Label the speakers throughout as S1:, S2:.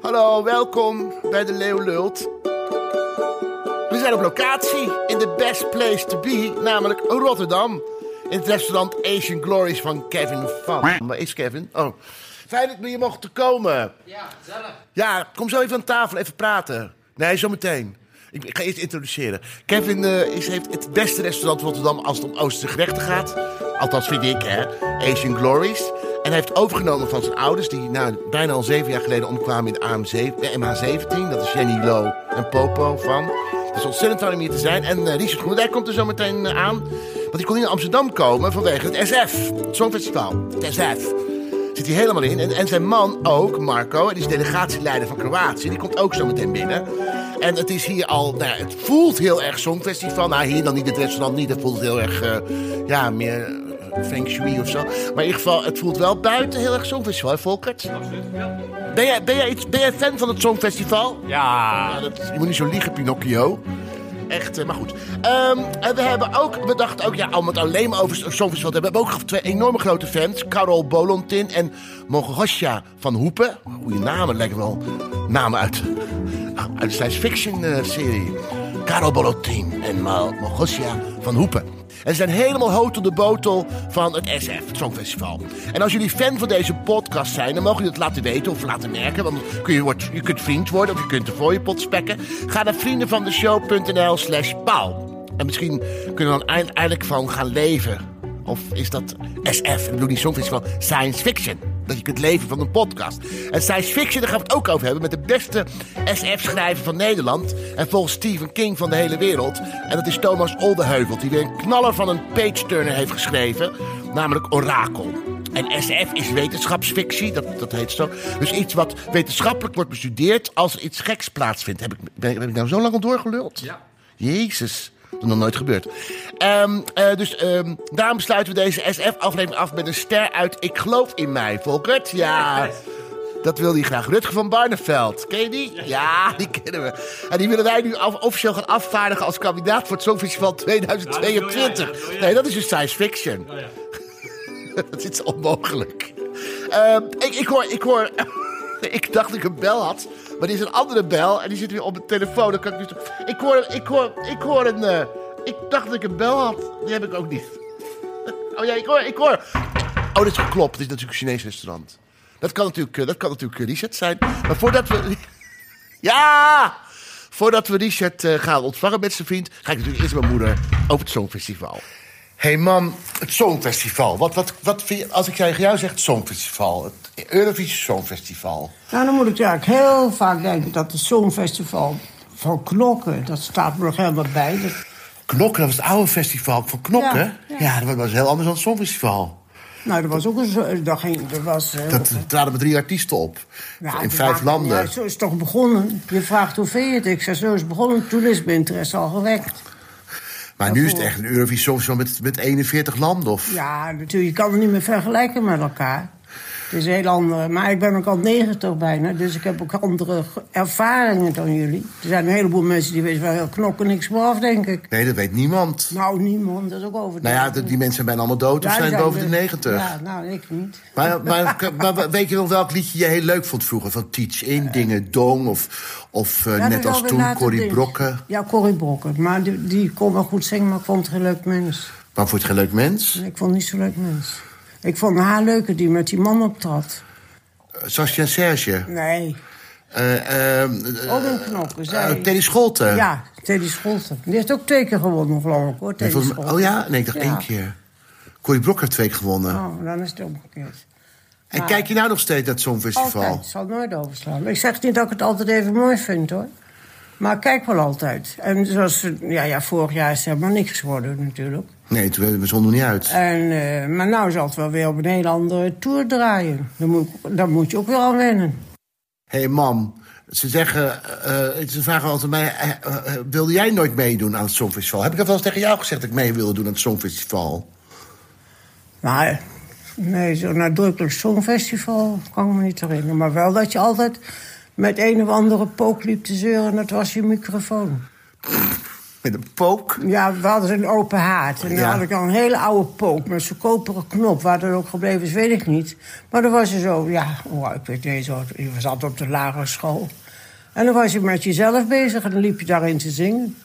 S1: Hallo, welkom bij de Leeuw Lult. We zijn op locatie in de best place to be, namelijk Rotterdam. In het restaurant Asian Glories van Kevin van. Waar is Kevin? Oh. Fijn dat we hier mochten komen.
S2: Ja, gezellig.
S1: Ja, kom zo even aan tafel, even praten. Nee, zometeen. Ik, ik ga eerst introduceren. Kevin eh, is, heeft het beste restaurant in Rotterdam als het om Oosterse gerechten gaat. Althans vind ik, hè. Asian Glories. En hij heeft overgenomen van zijn ouders, die nou, bijna al zeven jaar geleden omkwamen in de AMC, eh, MH17. Dat is Jenny Lo en Popo van. Het is ontzettend fijn om hier te zijn. En eh, Richard Groenendijk komt er zo meteen eh, aan. Want die kon niet naar Amsterdam komen vanwege het SF. Het Songfestival. Het SF zit hij helemaal in. En, en zijn man ook, Marco, die is delegatieleider van Kroatië. Die komt ook zo meteen binnen. En het is hier al, nou ja, het voelt heel erg Songfestival. Nou, hier dan niet, het restaurant niet. Het voelt heel erg, eh, ja, meer eh, feng shui of zo. Maar in ieder geval, het voelt wel buiten heel erg Songfestival, hè, Volkert?
S2: Absoluut. Ja.
S1: Ben jij, ben jij, iets, ben jij fan van het Songfestival? Ja,
S2: ja.
S1: dat, je moet niet zo liegen, Pinocchio. Echt, eh, maar goed. Ehm, en we hebben ook, we dachten ook, ja, om het alleen maar over Songfestival te hebben. We hebben ook twee enorme grote fans. Karol Bolontin en Mogosja van Hoepen. Goeie namen, lijken wel namen uit, uit de science fiction eh, serie. Karol Bolontin en Mo- Mogosja van Hoepen. En ze zijn helemaal hoog op de botel van het SF, het Songfestival. En als jullie fan van deze podcast zijn, dan mogen jullie het laten weten of laten merken. Want kun je, wordt, je kunt vriend worden of je kunt de voor je pot spekken. Ga naar vriendenvandeshow.nl slash paal. En misschien kunnen we dan eind- eindelijk van gaan leven. Of is dat SF? Ik bedoel niet Songfestival, science fiction. Dat je kunt leven van een podcast. En science fiction, daar gaan we het ook over hebben. Met de beste SF-schrijver van Nederland. En volgens Stephen King van de hele wereld. En dat is Thomas Oldeheuvel. Die weer een knaller van een page-turner heeft geschreven. Namelijk Orakel. En SF is wetenschapsfictie, dat, dat heet zo. Dus iets wat wetenschappelijk wordt bestudeerd als er iets geks plaatsvindt. Heb ik, ben, ben ik nou zo lang al doorgeluld?
S2: Ja.
S1: Jezus, dat is nog nooit gebeurd. Ehm, eh, dus ehm, daarom sluiten we deze SF-aflevering af met een ster uit Ik geloof in mij, Volkert. Ja, dat wil hij graag. Rutger van Barneveld, ken je die? Ja, die kennen we. En die willen wij nu af- officieel gaan afvaardigen als kandidaat voor het Songfestival
S2: Ja, dat wil jij, dat
S1: 2022.
S2: wil jij.
S1: nee, dat is dus science fiction.
S2: Oh, ja.
S1: Dat is onmogelijk. Ehm, ik, ik hoor. Ik, hoor ik dacht dat ik een bel had. Maar die is een andere bel. En die zit weer op mijn telefoon. Dan kan ik, dus, ik, hoor, ik, hoor, ik hoor een. eh, ik dacht dat ik een bel had. Die heb ik ook niet. Oh ja, ik hoor. Ik hoor. Oh, dit is geklopt. Dit is natuurlijk een Chinees restaurant. Dat kan natuurlijk, eh, dat kan natuurlijk eh, Richard zijn. Maar voordat we. Ja! Voordat we Richard eh, gaan ontvangen met zijn vriend, ga ik natuurlijk eerst mijn moeder over het Songfestival. Hé hey mam, het Songfestival. Wat, wat, wat vind je, als ik tegen jou zeg het Songfestival, het Eurovisie Songfestival.
S3: Nou, dan moet ik eigenlijk heel vaak denken dat het Songfestival van knokken, dat staat me nog helemaal bij. Dat,
S1: Knokken, dat was het oude festival van Knokken. Ja,
S3: Ja, ja.
S1: dat was heel anders dan het Songfestival.
S3: nou, er was ook een. zo- daar ging, er was, eh,
S1: Dat er traden maar drie artiesten op.
S3: ja,
S1: in
S3: we
S1: vijf
S3: vragen-
S1: landen.
S3: Ja, zo is het toch begonnen. Je vraagt hoe vind je het? Ik zeg, zo is het begonnen. Toen is mijn interesse al gewekt.
S1: maar nu is het echt een Eurovisie Songfestival met, met 41 landen. Of...
S3: Ja, natuurlijk, je kan het niet meer vergelijken met elkaar. Het is heel ander. Maar ik ben ook al 90 bijna, dus ik heb ook andere ge- ervaringen dan jullie. Er zijn een heleboel mensen die weten wel heel knokken niks meer af, denk ik.
S1: Nee, dat weet niemand.
S3: Nou, niemand, dat is ook over.
S1: Nou ja, de- die mensen zijn bijna allemaal dood of
S3: Daar
S1: zijn boven de
S3: we-
S1: 90.
S3: Ja, nou, ik niet.
S1: Maar, maar, maar weet je wel welk liedje je heel leuk vond vroeger? Van Teach
S3: Eh.
S1: In, Dingen Dong of, of eh,
S3: Ja, dat
S1: net
S3: is
S1: als
S3: alweer
S1: toen
S3: later
S1: Corrie
S3: ding.
S1: Brokken.
S3: Ja, Corrie Brokken. Maar die, die kon wel goed zingen, maar ik vond het geen leuk mens.
S1: Maar vond je het geen leuk mens?
S3: Ik vond het niet zo'n leuk mens. Ik vond haar leuker die met die man optrad.
S1: Sascha Serge.
S3: Nee, Oh,
S1: eh eh
S3: ook een knokken. Zij...
S1: eh, Teddy Scholten.
S3: Ja, Teddy Scholten. Die heeft ook twee keer gewonnen, geloof ik, hoor.
S1: Nee,
S3: Teddy
S1: volgens mij-
S3: Scholten.
S1: oh ja? Nee, ik dacht
S3: Ja.
S1: één keer. Corrie Brokken heeft twee keer gewonnen.
S3: Oh, dan is het omgekeerd.
S1: en kijk je nou nog steeds naar het Songfestival?
S3: Altijd, ik zal het nooit overslaan. Ik zeg niet dat ik het altijd even mooi vind, hoor. Maar ik kijk wel altijd. En zoals, ja, ja, vorig jaar is het helemaal niks geworden, natuurlijk.
S1: Nee, toen, we zonden niet uit.
S3: En, eh, maar nou zal het wel weer op een hele andere tour draaien. Dan moet, ik- dan moet je ook weer aan wennen.
S1: Hé hey, mam, ze zeggen, eh, ze vragen altijd mij, eh, eh, eh, wilde jij nooit meedoen aan het Songfestival? Heb ik dat wel eens tegen jou gezegd dat ik mee wilde doen aan het Songfestival?
S3: Maar nee, zo'n nadrukkelijk songfestival kan ik me niet herinneren. Maar wel dat je altijd met een of andere pook liep te zeuren. Dat was je microfoon.
S4: Met een pook.
S3: Ja, we hadden een open haard. En dan
S4: Ja.
S3: had ik al een hele oude pook met zo'n koperen knop. Waar dat ook gebleven is, weet ik niet. Maar dan was je zo, ja, oh, ik weet niet, zo, je was altijd op de lagere school. En dan was je met jezelf bezig en dan liep je daarin te zingen.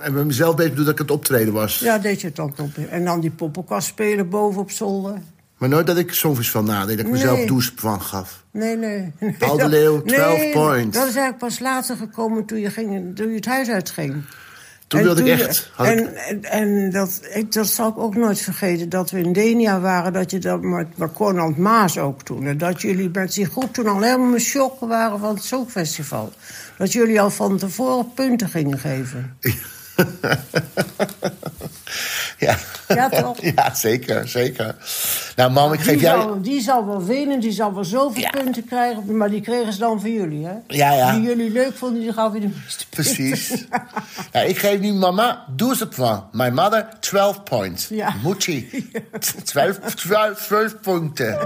S4: En met mezelf bezig bedoel dat ik aan het optreden was.
S3: Ja, deed je het dan op. En dan die poppenkast spelen boven op zolder.
S4: Maar nooit dat ik soms van nadeed. Dat ik mezelf
S3: Nee.
S4: douche van gaf.
S3: Nee, nee. nee
S4: Paul de
S3: dat-
S4: Leeuw, 12
S3: nee,
S4: points.
S3: Dat is eigenlijk pas later gekomen toen je, ging, toen je het huis uitging.
S4: Toen
S3: En
S4: wilde ik
S3: je-
S4: echt. Had ik-
S3: En, en, en dat, ik, dat zal ik ook nooit vergeten, dat we in Denia waren... dat je dat met, met Cornald Maas ook toen... en dat jullie met die groep toen al helemaal in shock waren van het Songfestival. Dat jullie al van tevoren punten gingen geven.
S4: Ja.
S3: Ja, toch?
S4: Ja, zeker, zeker. Nou, mam, ik geef
S3: Die,
S4: jou...
S3: zal, die zal wel winnen, die zal wel zoveel punten krijgen... maar die kregen ze dan van jullie, hè?
S4: Ja, ja.
S3: Die jullie leuk vonden, die gaven je de meeste punten.
S4: Precies. Ja, ik geef nu mama 12 points. My mother 12 points.
S3: Ja.
S4: Moetie. 12, 12, 12 punten.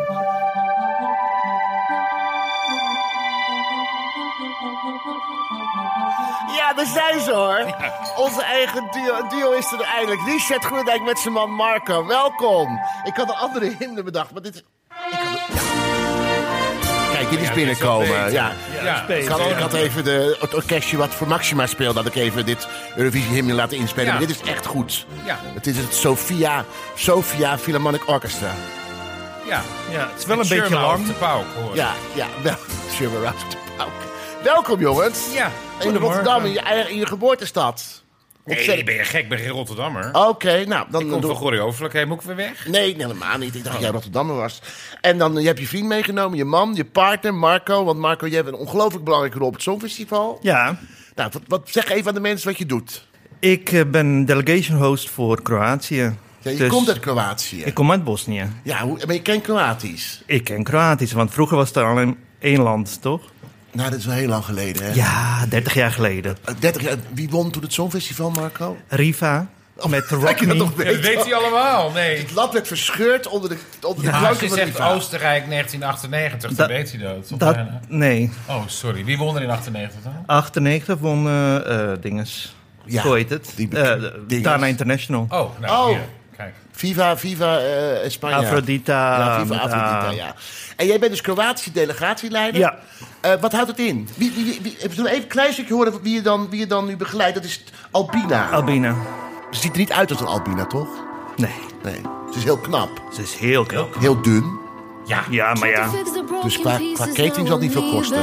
S1: Ja, daar zijn ze hoor. Onze eigen duo, duo is er eindelijk. Richard Groenendijk met zijn man Marco. Welkom. Ik had een andere hymne bedacht, maar dit is... Ik had een- ja. Kijk, dit is binnenkomen. Ja,
S5: Ja,
S1: Ik had, ik had even de, het orkestje wat voor Maxima speelde... had ik even dit Eurovisie hymne laten inspelen.
S5: Ja.
S1: Maar dit is echt goed.
S5: Ja.
S1: Het is het Sofia, Sofia Philharmonic Orchestra.
S5: ja. ja. Het
S6: is wel een beetje lang.
S5: de pauk, hoor.
S1: Ja, ja, wel. Sure, we're out. Welkom jongens.
S5: Ja,
S1: In
S5: goedemorgen.
S1: Rotterdam, in je, eigen- in je geboortestad.
S5: Nee, ben je gek? Ik ben geen Rotterdammer.
S1: Oké, nou, dan
S5: ik
S1: dan
S5: kom
S1: doe-
S5: van Gorrie Overvlak heen, moet ik weer weg? Oh.
S1: Nee, nee, helemaal niet. Ik dacht dat jij Rotterdammer was. En dan eh, je hebt je vriend meegenomen, je man, je partner, Marco. Want Marco, jij hebt een ongelooflijk belangrijke rol op het Songfestival.
S6: Ja,
S1: Nou, wat, wat, zeg even aan de mensen wat je doet.
S6: ik eh, ben delegation host voor Kroatië.
S1: Ja, je
S6: Dus
S1: komt uit Kroatië.
S6: Ik kom uit Bosnië.
S1: Ja, hoe, maar je kent Kroatisch.
S6: Ik ken Kroatisch, want vroeger was het alleen één land, toch?
S1: Nou, dat is wel heel lang geleden, hè?
S6: Ja, 30 jaar geleden.
S1: Eh, 30 jaar. Wie won toen het Songfestival, Marco?
S6: Riva met
S1: Kijk je Oh, dat
S6: Rock Me.
S1: nog
S5: Ja, dat
S1: beter?
S5: weet hij allemaal. Nee.
S1: Het land werd verscheurd onder de, onder de
S5: Als
S1: klanken
S5: je
S1: van
S5: zegt
S1: Riva.
S5: Oostenrijk 1998, dan
S6: Dat-
S5: weet hij dat. Of
S6: Dat,
S5: bijna.
S6: nee,
S5: Oh, sorry. Wie won er in 98 dan?
S6: 98 won eh, eh, dinges.
S1: Ja,
S6: Hoe heet het?
S1: die
S6: Eh,
S1: dinges.
S6: Tana International.
S5: Oh, nou,
S1: Oh.
S5: hier. Kijk.
S1: Viva, Viva eh, España.
S6: Afrodita.
S1: Ja, Viva
S6: met,
S1: Afrodita,
S6: ah,
S1: ja. En jij bent dus Kroatische delegatieleider.
S6: Ja.
S1: Eh, wat houdt het in? Wie, wie, wie, wie- zullen we even een klein stukje horen wie je, dan, wie je dan nu begeleidt? Dat is Albina.
S6: Albina.
S1: Ze ziet er niet uit als een Albina, toch?
S6: Nee,
S1: Nee. Ze is heel knap.
S6: ze is heel knap.
S1: Heel dun.
S5: Ja.
S6: Ja, maar ja.
S7: Dus qua, qua catering zal het niet veel kosten.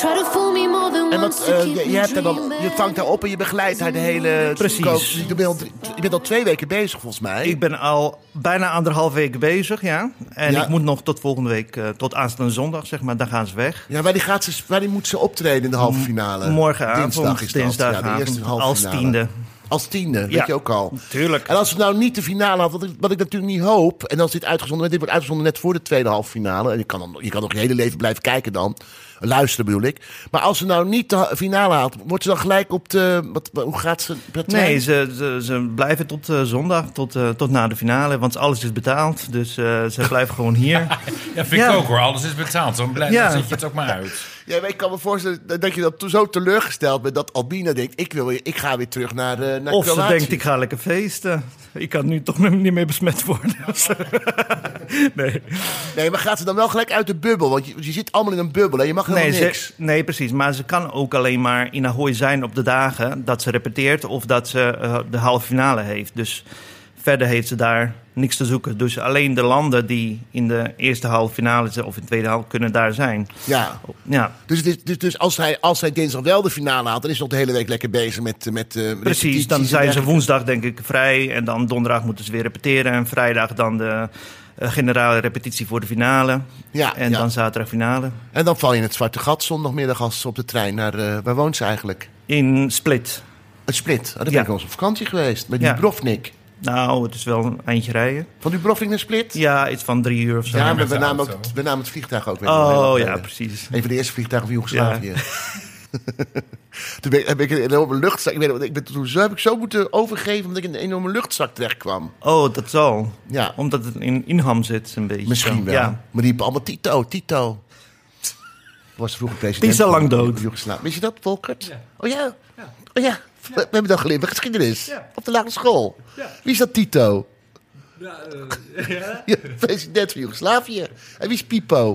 S1: En wat, eh, je, je, hebt haar dan, je vangt haar op en je begeleidt haar de hele...
S6: Precies.
S1: Ko- Je bent, al, je bent al twee weken bezig, volgens mij.
S6: Ik ben al bijna anderhalf week bezig, ja. En
S1: Ja.
S6: ik moet nog tot volgende week, eh, tot aanstaande zondag, zeg maar. Dan gaan ze weg.
S1: Ja, wanneer, gaat ze, wanneer moet ze optreden in de halve finale?
S6: Morgenavond,
S1: Dinsdag is dat. ja, de
S6: dinsdagavond,
S1: eerste halve
S6: als
S1: finale.
S6: tiende.
S1: Als tiende, Eh, weet
S6: Ja,
S1: je ook al.
S6: tuurlijk.
S1: En als ze nou niet de finale had, wat ik, wat ik natuurlijk niet hoop... en als dit uitgezonden wordt, dit wordt uitgezonden net voor de tweede halve finale... en je kan, dan, je kan nog je hele leven blijven kijken dan, luisteren bedoel ik... maar als ze nou niet de ha- finale haalt, wordt ze dan gelijk op de... Wat, hoe gaat ze per trein?
S6: Nee, ze, ze, ze blijven tot eh, zondag, tot, eh, tot na de finale. Want alles is betaald, dus eh, ze blijven gewoon hier.
S5: Ja, vind ik
S6: Ja.
S5: ook hoor. Alles is betaald. Dan, blij,
S6: Ja.
S5: dan zet je het ook maar uit.
S1: Ja, maar ik kan me voorstellen dat- dat je dat zo teleurgesteld bent... dat Albina denkt, ik, wil, weer- ik ga weer terug naar, eh, naar
S6: Of ze
S1: Kroatië.
S6: denkt, ik ga lekker feesten. Ik kan nu toch niet meer besmet worden. nee,
S1: Nee, maar gaat ze dan wel gelijk uit de bubbel? Want je, je zit allemaal in een bubbel en je mag helemaal
S6: nee,
S1: niks.
S6: ze, nee, precies. Maar ze kan ook alleen maar in Ahoy zijn op de dagen dat ze repeteert of dat ze eh, de halve finale heeft. Dus verder heeft ze daar niks te zoeken. Dus alleen de landen die in de eerste halve finale zijn of in de tweede halve kunnen daar zijn.
S1: Ja.
S6: Ja,
S1: Dus, het is- dus, dus als, hij, als hij dinsdag wel de finale haalt, dan is hij nog de hele week lekker bezig met. eh, met eh,
S6: precies.
S1: repetities
S6: Dan
S1: en
S6: zijn ze
S1: dergelijke.
S6: woensdag denk ik vrij en dan donderdag moeten ze weer repeteren en vrijdag dan de eh, generale repetitie voor de finale.
S1: Ja,
S6: en
S1: ja.
S6: dan zaterdag finale.
S1: En dan val je in het zwarte gat zondagmiddag als ze op de trein naar. eh, waar woont ze eigenlijk?
S6: In Split.
S1: Het Split. Oh, daar ben
S6: Ja.
S1: ik wel eens op vakantie geweest. Met
S6: Ja.
S1: Dubrovnik.
S6: Nou, het is wel een eindje rijden.
S1: Van Dubrovnik naar Split?
S6: Ja, iets van drie uur of zo.
S1: Ja, maar we
S5: de
S1: namen,
S5: auto.
S1: ook, we namen het vliegtuig ook weer. eh,
S6: oh ja, precies.
S1: Een van de eerste vliegtuigen van Joegoslavië. toen ben, ik- heb ik een enorme luchtzak. Ik weet, nog, ik ben, toen zo heb ik zo moeten overgeven omdat ik in een enorme luchtzak terecht kwam.
S6: Oh, dat zal.
S1: Ja.
S6: Omdat het in Inham zit, een beetje.
S1: Misschien
S6: zo.
S1: wel.
S6: Ja.
S1: Maar die riepen allemaal Tito, Tito. was vroeger president.
S6: Die is al lang
S1: van
S6: dood.
S1: Joegoslavië. Wist je dat, Volkert? Oh ja. Oh ja. We, we hebben dat geleerd bij geschiedenis. Op de lagere school. Wie is dat Tito? Ja, president van Joegoslavië. En wie is Pipo?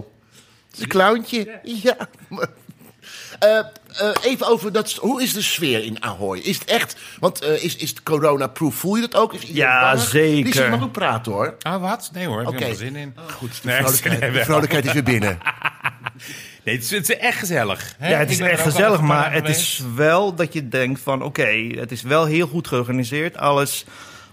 S1: Dat is een clowntje. Ja. maar- Eh, eh, even over dat. Hoe is de sfeer in Ahoy? Is het echt. Want eh, is, is het corona-proof? Voel je dat ook? Is iedereen
S6: Ja,
S1: bang?
S6: zeker.
S1: Die zit maar goed praten hoor.
S5: Ah, wat? Nee hoor, heb
S1: Oké. Oh,
S5: ik helemaal zin in.
S1: Goed, de
S5: Nee,
S1: vrolijkheid,
S5: nee,
S1: de
S5: wel.
S1: vrolijkheid is weer binnen.
S5: Nee, het, is, het is echt gezellig. hè?
S6: Ja, het
S5: Ik
S6: is
S5: ben er
S6: echt
S5: ook al
S6: gezellig,
S5: een paar
S6: maar
S5: keer
S6: het
S5: geweest.
S6: is wel dat je denkt van... oké, het is wel heel goed georganiseerd. Alles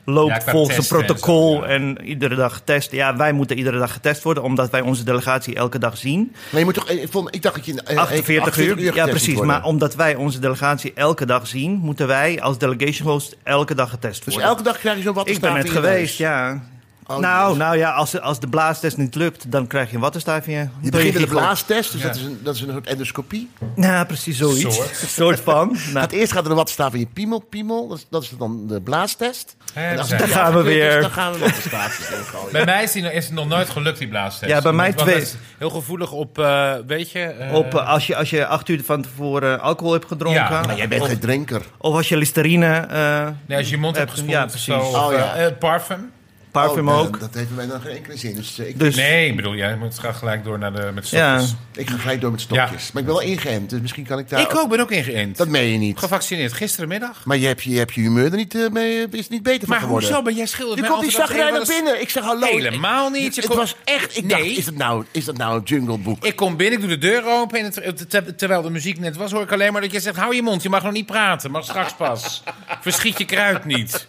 S6: loopt
S5: Ja, qua
S6: volgens een
S5: testen en zo,
S6: protocol
S5: ja.
S6: en, iedere dag getest. Ja, wij moeten iedere dag getest worden... omdat wij onze delegatie elke dag zien.
S1: Maar je moet toch. Ik, vond, ik dacht dat je. in, eh,
S6: 48 uur. Ja,
S1: getest
S6: precies.
S1: moet worden.
S6: Maar omdat wij onze delegatie elke dag zien... moeten wij als delegation host elke dag getest
S1: Dus
S6: worden.
S1: elke dag krijg je zo'n wat
S6: Ik ben net geweest, ja.
S1: Oh,
S6: nou,
S1: jezus.
S6: nou ja, als, als de blaastest niet lukt, dan krijg je een wattenstaaf in je.
S1: Je begint met een
S6: Giegel.
S1: blaastest, dus
S5: Ja.
S1: dat, is een, dat is een soort endoscopie.
S6: Nou, precies zoiets.
S5: Soort.
S6: Een soort van. Nou,
S1: Het eerst gaat er een wattenstaaf in je piemel, piemel. Dat is, dat is dan de blaastest.
S5: Hè,
S1: En als
S5: daar
S1: het
S6: zijn
S1: niet
S6: we.
S1: afgekeurd
S6: Daar
S1: is, Dan gaan we wattenstaafjes in gooien.
S5: Bij mij is, die, is het nog nooit gelukt, die blaastest.
S6: Ja, bij mij
S5: Want
S6: twee.
S5: dat is heel gevoelig op, eh, weet je... eh,
S6: op, eh, als, je, als je acht uur van tevoren eh, alcohol hebt gedronken.
S5: Ja, maar
S1: Maar jij bent
S6: of,
S1: geen drinker.
S6: of als je listerine, eh
S5: nee, als je je mond hebt
S6: eh,
S5: gespoeld
S6: ja,
S5: of
S6: precies.
S5: zo. Of,
S1: Oh, ja.
S5: eh, eh, parfum.
S6: parfum
S1: Oh, eh,
S6: ook.
S1: Dat heeft bij mij dan geen enkele zin. Dus eh, ik,
S6: dus
S5: Nee, ik bedoel, jij moet graag gelijk door naar de, met
S6: Ja.
S5: stokjes.
S1: ik ga gelijk door met stokjes.
S5: Ja.
S1: Maar ik ben wel ingeënt, dus misschien kan ik daar...
S5: Ik ook, ben ook ingeënt.
S1: Dat meen je niet.
S5: Gevaccineerd gisterenmiddag.
S1: Maar je hebt je, je hebt je humeur er niet, eh, mee, eh, is er niet beter
S5: Maar
S1: van geworden.
S5: hoezo ben jij schilderd?
S1: Je komt die zagrijn naar binnen. Ik zeg hallo.
S5: Helemaal niet.
S1: Ik-
S5: Je
S1: het
S5: komt-
S1: was echt... Ik
S5: Nee.
S1: dacht, is dat nou, is dat nou een jungleboek?
S5: Ik kom binnen, ik doe de deur open. En het- te- terwijl de muziek net was, hoor ik alleen maar dat je zegt: hou je mond, je mag nog niet praten, maar straks pas. Verschiet je kruid niet.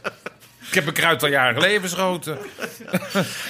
S5: Ik heb een kruid al jaren geleden verschoten.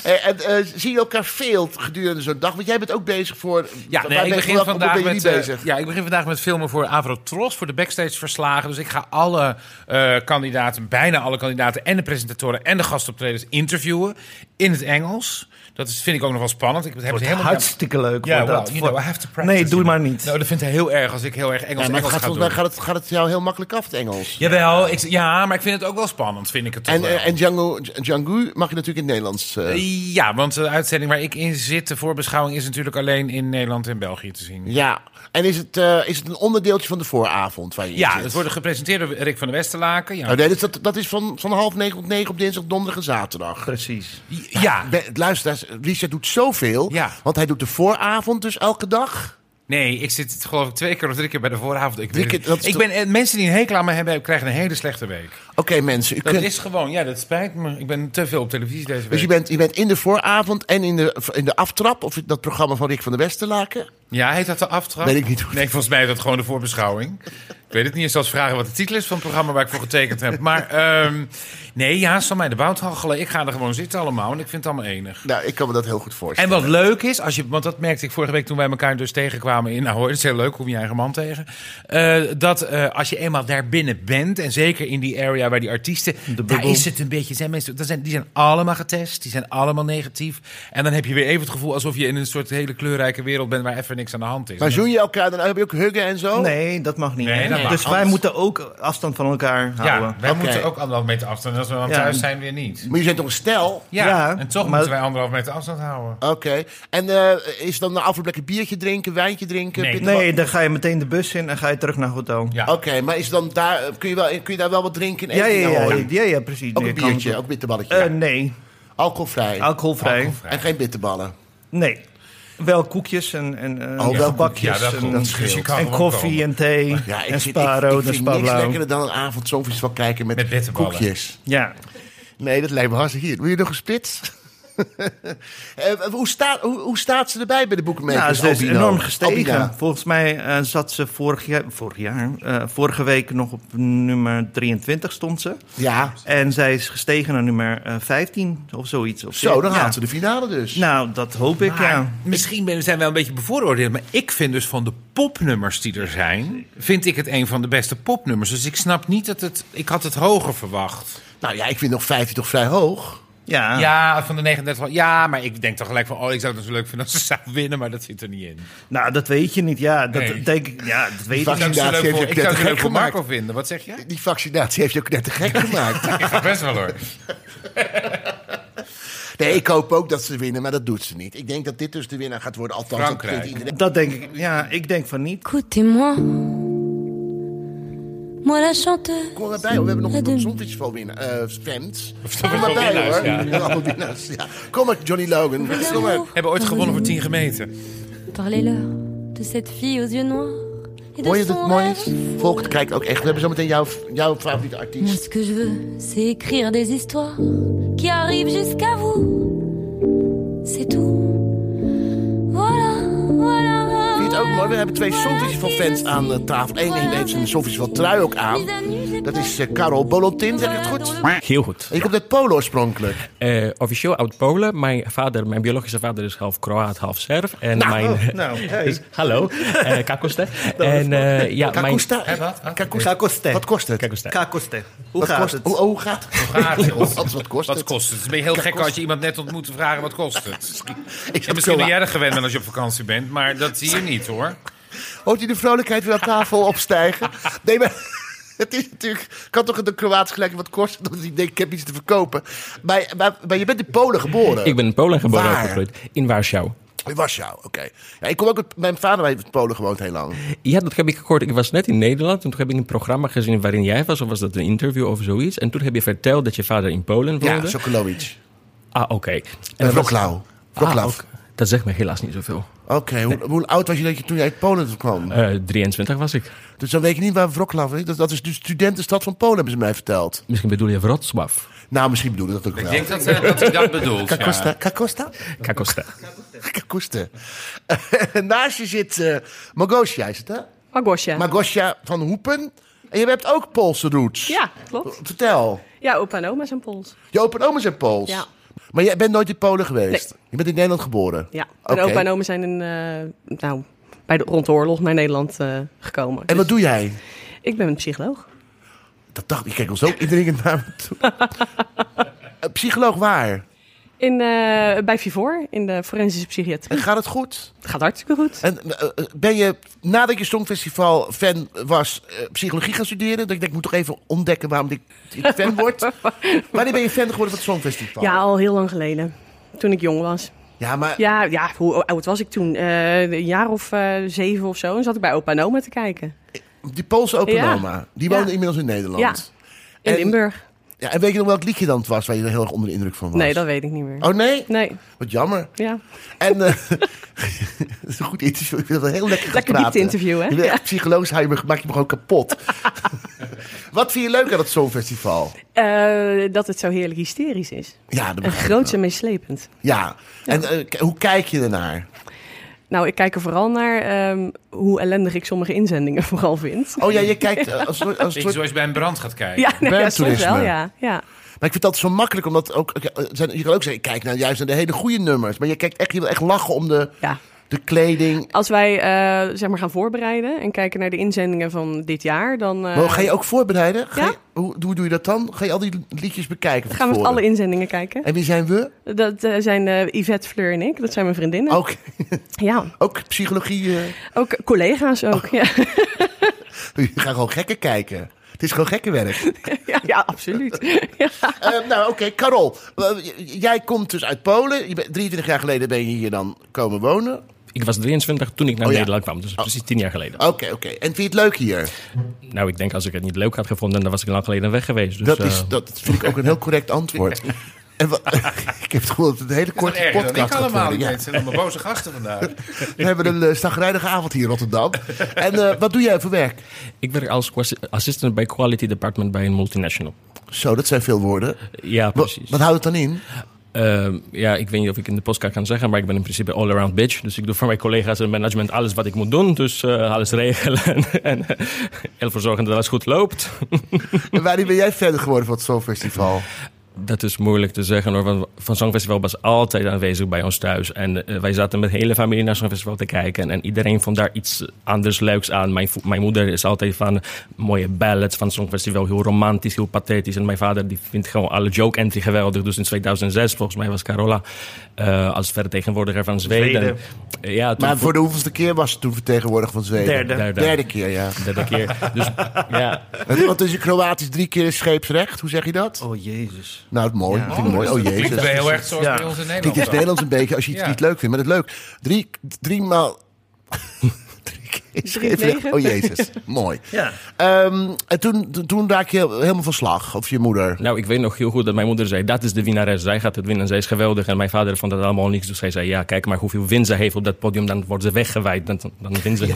S1: Eh, en, eh, zie je elkaar veel gedurende zo'n dag? Want jij bent ook bezig voor...
S5: Ja,
S1: waar
S5: nee,
S1: ben
S5: ik
S1: je-
S5: begin
S1: welke
S5: vandaag
S1: ben je
S5: met,
S1: niet
S5: eh,
S1: bezig?
S5: ja, ik begin vandaag met filmen voor Avrotros, voor de backstage verslagen. Dus ik ga alle eh, kandidaten, bijna alle kandidaten en de presentatoren en de gastoptreders interviewen in het Engels. Dat is, vind ik ook nog wel spannend. Ik heb het helemaal niet-
S6: hartstikke leuk.
S5: Ja,
S6: wordt
S5: well,
S6: dat.
S5: you know, I have to practice,
S6: nee, doe
S5: you
S6: maar
S5: know.
S6: niet.
S5: Nou, dat vindt hij heel erg als ik heel erg Engels,
S1: Ja, maar het
S5: Engels
S1: gaat,
S5: ga
S1: volgens mij
S5: doen.
S1: gaat het, gaat het jou heel makkelijk af, het Engels.
S5: Jawel, ik, ja, maar ik vind het ook wel spannend, vind ik het toch
S1: En,
S5: wel.
S1: eh, en Django, Django mag je natuurlijk in het Nederlands... eh,
S5: ja, want de uitzending waar ik in zit, de voorbeschouwing, is natuurlijk alleen in Nederland en België te zien.
S1: Ja, en is het, eh, is het een onderdeeltje van de vooravond waar je in
S5: Ja,
S1: zit?
S5: het wordt gepresenteerd door Rick van der Westerlaken. Ja,
S1: Nou, nee, dus dat, dat is van, van half negen tot negen op dinsdag, donderdag en zaterdag.
S6: Precies.
S5: ja.
S1: Be- Luisteraars, Richard doet zoveel,
S5: Ja.
S1: want hij doet de vooravond dus elke dag.
S5: Nee, ik zit geloof ik twee keer of drie keer bij de vooravond. Ik,
S1: Drie
S5: weet het
S1: keer, dat
S5: niet.
S1: is
S5: ik
S1: toch-
S5: ben, eh, mensen die een hekel aan me hebben, krijgen een hele slechte week.
S1: Oké mensen, u
S5: Dat
S1: kunt,
S5: is gewoon, ja, dat spijt me. Ik ben te veel op televisie deze
S1: dus
S5: week.
S1: je bent, je bent in de vooravond en in de, in de aftrap, of in dat programma van Rick van der Westerlaken.
S5: Ja, heet dat de aftrap?
S1: Weet ik niet hoe-
S5: Nee, volgens mij is dat gewoon de voorbeschouwing. ik weet het niet eens als vragen wat de titel is van het programma waar ik voor getekend heb. Maar ehm, nee, ja, zal mij de bouwthachelen. Ik ga er gewoon zitten allemaal en ik vind het allemaal enig.
S1: Nou, ik kan me dat heel goed voorstellen.
S5: En wat leuk is, als je, want dat merkte ik vorige week toen wij elkaar dus tegenkwamen in Ahoy. Dat is heel leuk, kom je eigen man tegen. Eh, dat eh, als je eenmaal daar binnen bent, en zeker in die area waar die artiesten... Daar
S6: bubbel.
S5: is het een beetje, zijn mensen, dat zijn, die zijn allemaal getest, die zijn allemaal negatief. En dan heb je weer even het gevoel alsof je in een soort hele kleurrijke wereld bent... waar even niks aan de hand is.
S1: Maar zoen je elkaar, dan heb je ook huggen en zo?
S6: Nee, dat mag niet.
S5: eh, Nee,
S6: hè?
S5: dat mag.
S6: dus wij
S5: Anders-
S6: moeten ook afstand van elkaar
S5: Ja,
S6: houden.
S5: wij
S1: Oké.
S5: moeten ook anderhalf meter afstand. En als we dan
S6: Ja.
S5: thuis zijn, weer niet.
S1: Maar je bent toch een stel?
S5: Ja,
S6: Ja,
S5: en toch
S6: maar-
S5: moeten wij anderhalf meter afstand houden.
S1: Oké. En eh, is dan na afloop lekker biertje drinken, wijntje drinken?
S5: Nee.
S1: bitterballen?
S6: Nee, dan ga je meteen de bus in en ga je terug naar het hotel.
S5: Ja.
S1: Oké, maar is dan daar, eh, kun, je wel, kun je daar wel wat drinken? en
S6: ja,
S1: Oh, eten?
S6: ja, ja,
S1: Nou,
S6: ja, ja, ja, precies.
S1: Ook
S6: Je
S1: een
S6: kan-
S1: biertje, ook bitterballetje.
S6: Eh, nee,
S1: alcoholvrij.
S6: alcoholvrij.
S1: En geen bitterballen.
S6: Nee. Wel koekjes en, en eh,
S1: Oh, wel
S6: bakjes.
S5: koekjes. Ja, dat
S6: en,
S5: klopt.
S6: dat-
S5: Dus je kan
S6: en
S5: gewoon
S6: koffie
S5: komen.
S6: en thee
S1: Ja, ik,
S6: en
S1: vind-
S6: Sparo
S1: ik, ik
S6: en
S1: vind niks
S6: Spablau.
S1: lekkerder dan een avond zo'n festival kijken met,
S5: Met bitterballen.
S1: koekjes.
S6: Ja.
S1: Nee, dat lijkt me hartstikke hier. Wil je nog een spits? Eh, hoe, staat hoe, hoe staat ze erbij bij de
S6: ja,
S1: boekmakers?
S6: Nou, ze
S5: Nou,
S6: is
S1: Albino?
S6: enorm gestegen.
S1: Albina.
S6: Volgens mij eh, zat ze vorig jaar, vorig jaar eh, vorige week nog op nummer 23 stond ze.
S1: Ja,
S6: En zij is gestegen naar nummer eh, 15 of zoiets. Of
S1: zo, dan
S6: ja.
S1: haalt ze de finale dus.
S6: Nou, dat hoop ik, ja.
S5: Misschien ben- zijn we wel een beetje bevooroordeeld, maar ik vind dus van de popnummers die er zijn, vind ik het een van de beste popnummers. Dus ik snap niet dat het. Ik had het hoger verwacht.
S1: nou ja, ik vind nog 15 toch vrij hoog.
S6: Ja.
S5: Ja, van de 39. wel- Ja, maar ik denk toch gelijk van, oh, ik zou het natuurlijk leuk vinden als ze zou winnen, maar dat zit er niet in.
S6: Nou, dat weet je niet. Ja, dat
S5: Nee.
S6: denk ik. Ja, dat weet
S5: Ik
S6: ik.
S5: zou het zo leuk
S1: heeft
S5: voor,
S1: ook
S5: ik zou het
S1: net
S5: leuk voor
S1: gemaakt.
S5: Marco vinden. Wat zeg je?
S1: Die vaccinatie heeft je ook net te gek gemaakt.
S5: Ik ga best wel hoor.
S1: Nee, ik hoop ook dat ze winnen, maar dat doet ze niet. Ik denk dat dit dus de winnaar gaat worden. Althans, dat
S5: Frankrijk.
S1: vindt iedereen.
S6: Dat denk ik. Ja, ik denk van niet.
S7: Écoutez-moi, moi la chanteuse.
S1: Kom maar bij, hoor. we hebben nog
S7: doen.
S1: een songfestival winnen. eh fans.
S5: dat
S1: Kom maar
S5: wel
S1: bij,
S5: winnaars,
S1: hoor.
S5: ja.
S1: Ja, allemaal winnaars, ja. Kom maar, Johnny Logan. Kom maar.
S5: Hebben ooit gewonnen voor 10 gemeenten.
S7: Parlez-leur de cette fille aux yeux noirs et de
S1: Hoor je dat
S7: son
S1: het mooi
S7: rêve
S1: is? Volgt kijkt ook echt. We hebben zometeen jouw, jouw favoriete
S7: Moi,
S1: artiest.
S7: ce que je veux, c'est écrire des histoires qui arrivent jusqu'à vous. C'est tout. Voilà, voilà.
S1: Vind je het ook mooi? We hebben twee
S7: Voilà,
S1: Songfestival-fans
S7: c'est
S1: aan
S7: ainsi.
S1: eh, tafel. Eén
S7: Voilà,
S1: heeft een
S7: c'est
S1: Songfestival-trui ook aan.
S7: ainsi. Mis à nu, j'ai
S1: Dat
S7: pensé.
S1: is eh, Karel Bolontin, zeg ik het goed?
S7: Voilà,
S8: Heel goed.
S1: Ik komt uit Polen oorspronkelijk.
S8: Eh, officieel uit Polen. Mijn vader, mijn biologische vader is half Kroaat, half Serv. En mijn...
S6: Nou,
S8: Dus, hallo, eh Kakoste. en eh, ja, mijn...
S1: Kakusta? Kakusta?
S6: Kakoste.
S1: Wat kost het?
S8: Kakoste.
S6: Kakoste. Hoe
S1: Wat
S6: gaat
S1: kost-
S6: het?
S1: Hoe, hoe gaat het?
S5: Gaat het?
S1: Wat wat kost
S5: Wat
S1: het?
S5: kost het? Het is een heel gek als je iemand net ontmoet te vragen wat kost het.
S1: Ik
S5: Ja,
S1: heb
S5: misschien ben
S1: zo-
S5: jij er gewend aan als je op vakantie bent, maar dat zie je niet hoor.
S1: Hoort u de vrolijkheid weer aan tafel opstijgen? Nee, maar het is natuurlijk... Kan toch de Kroaat gelijk wat kosten? Omdat hij denkt, ik heb iets te verkopen. Maar, maar, maar je bent in Polen geboren.
S8: Ik ben in Polen geboren en
S1: Waar?
S8: opgegroeid. In Warschau.
S1: In Warschau, oké. Ja, ik kom ook... uit- Mijn vader heeft in Polen gewoond heel lang.
S8: Ja, dat heb ik gehoord. Ik was net in Nederland en toen heb ik een programma gezien waarin jij was. Of was dat een interview of zoiets? En toen heb je verteld dat je vader in Polen
S1: Ja,
S8: woonde.
S1: Sokolowicz.
S8: ah, oké. En
S1: En
S8: dat was-
S1: Wroclaw.
S8: Ah,
S1: Wroclaw.
S8: ook. Dat zegt me helaas niet zoveel.
S1: Oké, hoe, hoe oud was je dat je toen jij uit Polen kwam?
S8: Eh 23 was ik.
S1: Dus dan weet ik niet waar Wroclaw is. Dat, dat is de studentenstad van Polen, hebben ze mij verteld.
S8: Misschien bedoel je Wrocław.
S1: Nou, misschien bedoelde dat ook
S5: Ik
S1: wel.
S5: denk dat, eh, dat hij dat bedoelt. ja.
S1: Kakosta. Kakosta?
S8: Kakoste.
S1: Kakosta. Naast je zit eh Magosia, is het hè?
S9: Magosja.
S1: Magosia van Hoepen. En je hebt ook Poolse roots.
S9: ja, klopt.
S1: Vertel.
S9: Ja, opa en oma zijn Pools.
S1: Je opa en oma zijn Pools.
S9: Ja.
S1: Maar jij bent nooit in Polen geweest. Je bent in Nederland geboren.
S9: Ja.
S1: Oké.
S9: En opa en oma zijn in, eh, nou, bij de, rond de oorlog naar Nederland eh, gekomen.
S1: En wat doe jij?
S9: Ik ben een psycholoog.
S1: Dat dacht ik. Kijk ons ook indringend naar me toe. Eh, Psycholoog waar?
S9: In, eh, bij Vivor, in de forensische
S1: En
S9: psychiatrie.
S1: gaat het goed?
S9: Het gaat hartstikke goed.
S1: En eh, eh, ben je, nadat je Songfestival fan was, eh, psychologie gaan studeren? Dat ik denk, ik moet toch even ontdekken waarom ik ik fan word. Wanneer ben je fan geworden van het Songfestival?
S9: Ja, al heel lang geleden. Toen ik jong was.
S1: Ja, maar
S9: Ja, ja hoe oud was ik toen? Eh, een jaar of eh, zeven of zo. En zat ik bij opa en oma te kijken.
S1: die Poolse opa en
S9: Ja.
S1: oma, die
S9: Ja.
S1: woonde inmiddels in Nederland.
S9: In
S1: En-
S9: Limburg.
S1: Ja, en weet je nog welk liedje dan het was waar je er heel erg onder de indruk van was?
S9: Nee, dat weet ik niet meer.
S1: Oh nee?
S9: Nee,
S1: Wat jammer.
S9: ja.
S1: En eh, dat is een goed interview. Ik wil dat heel lekker gaan
S9: Lekker
S1: praten.
S9: diepte-interview, hè?
S1: Je bent echt psycholoog, hij maakt je me gewoon kapot. Wat vind je leuk aan het Songfestival?
S9: Eh, dat het zo heerlijk hysterisch is.
S1: Ja, dat
S9: En
S1: begrijp ik
S9: groots en meeslepend.
S1: wel. Ja, en eh, k- hoe kijk je ernaar?
S9: Nou, ik kijk er vooral naar ehm, hoe ellendig ik sommige inzendingen vooral vind.
S1: Oh ja, je kijkt eh, als, soort- als
S5: Beetje
S1: soort-
S5: Zoals je bij een brand gaat kijken.
S9: Ja, nee, ja soms
S1: Werktoerisme.
S9: wel, ja. ja.
S1: Maar ik vind dat zo makkelijk, omdat ook... eh, er zijn- Je kan ook zeggen, ik kijk nou juist naar de hele goede nummers. Maar je, kijkt echt, je wil echt lachen om de,
S9: ja.
S1: de kleding.
S9: Als wij eh, zeg maar gaan voorbereiden en kijken naar de inzendingen van dit jaar, dan eh,
S1: Maar ga je ook voorbereiden? Ga
S9: ja.
S1: je- hoe, hoe doe je dat dan? Ga je al die liedjes bekijken? van
S9: gaan we
S1: tevoren?
S9: alle inzendingen kijken.
S1: En wie zijn we?
S9: Dat eh, zijn eh, Yvette, Fleur en ik. Dat zijn mijn vriendinnen.
S1: Ook,
S9: Ja,
S1: ook psychologie. eh, Oh,
S9: ook collega's ook. Ja, Ah,
S1: je gaat gewoon gekken kijken. Het is gewoon gekkenwerk.
S9: ja, ja, absoluut. Ja.
S1: Eh, nou, oké, Karol. eh, j- jij komt dus uit Polen. Je bent, 23 jaar geleden ben je hier dan komen wonen.
S8: Ik was 23 toen ik naar
S1: Oh, ja.
S8: Nederland kwam. Dus precies 10 jaar geleden.
S1: Oké, oké. En vind je het leuk hier?
S8: Nou, ik denk als ik het niet leuk had gevonden, dan was ik lang geleden weg geweest. Dus,
S1: Dat,
S8: eh,
S1: is, dat vind ik ook een heel correct antwoord. En wat, ik heb het gevoel dat het een hele
S5: Wat
S1: korte
S5: erger dan
S1: podcast
S5: ik
S1: gaat
S5: allemaal.
S1: worden.
S5: niet.
S1: Ja.
S5: Het zijn allemaal boze gasten vandaag.
S1: We hebben een uh, avond hier in Rotterdam. En eh, wat doe jij voor werk?
S8: Ik werk als quasi- assistant bij Quality Department bij een multinational.
S1: Zo, dat zijn veel woorden.
S8: Ja,
S1: Wat,
S8: precies.
S1: wat houdt het dan in?
S8: Ehm, ja, ik weet niet of ik in de podcast kan zeggen, maar ik ben in principe all-around bitch. Dus ik doe voor mijn collega's en management alles wat ik moet doen. Dus eh, alles regelen en eh, ervoor zorgen dat alles goed loopt.
S1: En waarin ben jij verder geworden van het Songfestival?
S8: Dat is moeilijk te zeggen hoor, want Van Songfestival was altijd aanwezig bij ons thuis. En eh, wij zaten met de hele familie naar Songfestival te kijken. En iedereen vond daar iets anders leuks aan. Mijn, vo- mijn moeder is altijd van mooie ballads van Songfestival. Heel romantisch, heel pathetisch. En mijn vader die vindt gewoon alle joke entry geweldig. Dus in 2006 volgens mij was Carola eh, als vertegenwoordiger van Zweden.
S6: Zweden.
S8: ja, toen
S1: Maar voor de hoeveelste keer was ze toen vertegenwoordigd van Zweden?
S6: Derde.
S8: Derde.
S1: Derde keer, ja.
S8: de derde keer. Dus ja,
S1: Want is je Kroatisch drie keer scheepsrecht? Hoe zeg je dat?
S6: Oh jezus.
S1: Nou, het mooi.
S6: Ja.
S1: Vind ik mooi. Oh
S5: Klinkt
S1: jezus.
S5: wel heel erg zoals
S6: Ja.
S5: bij ons in
S1: Dit is
S5: Nederland.
S1: Nederlands een beetje als je iets
S5: Ja.
S1: niet leuk vindt, maar het is leuk. Drie, drie maal. drie keer scheepsrecht.
S9: negen.
S1: Oh jezus. mooi.
S6: Ja.
S1: Ehm, en toen, toen- toen raak je helemaal van slag, of je moeder.
S8: nou, ik weet nog heel goed dat mijn moeder zei: dat is de winnares. Zij gaat het winnen. Zij is geweldig. En mijn vader vond dat allemaal niks. Dus hij zei: ja, kijk maar hoeveel win ze heeft op dat podium. Dan wordt ze weggewaaid. Dan, dan wint ze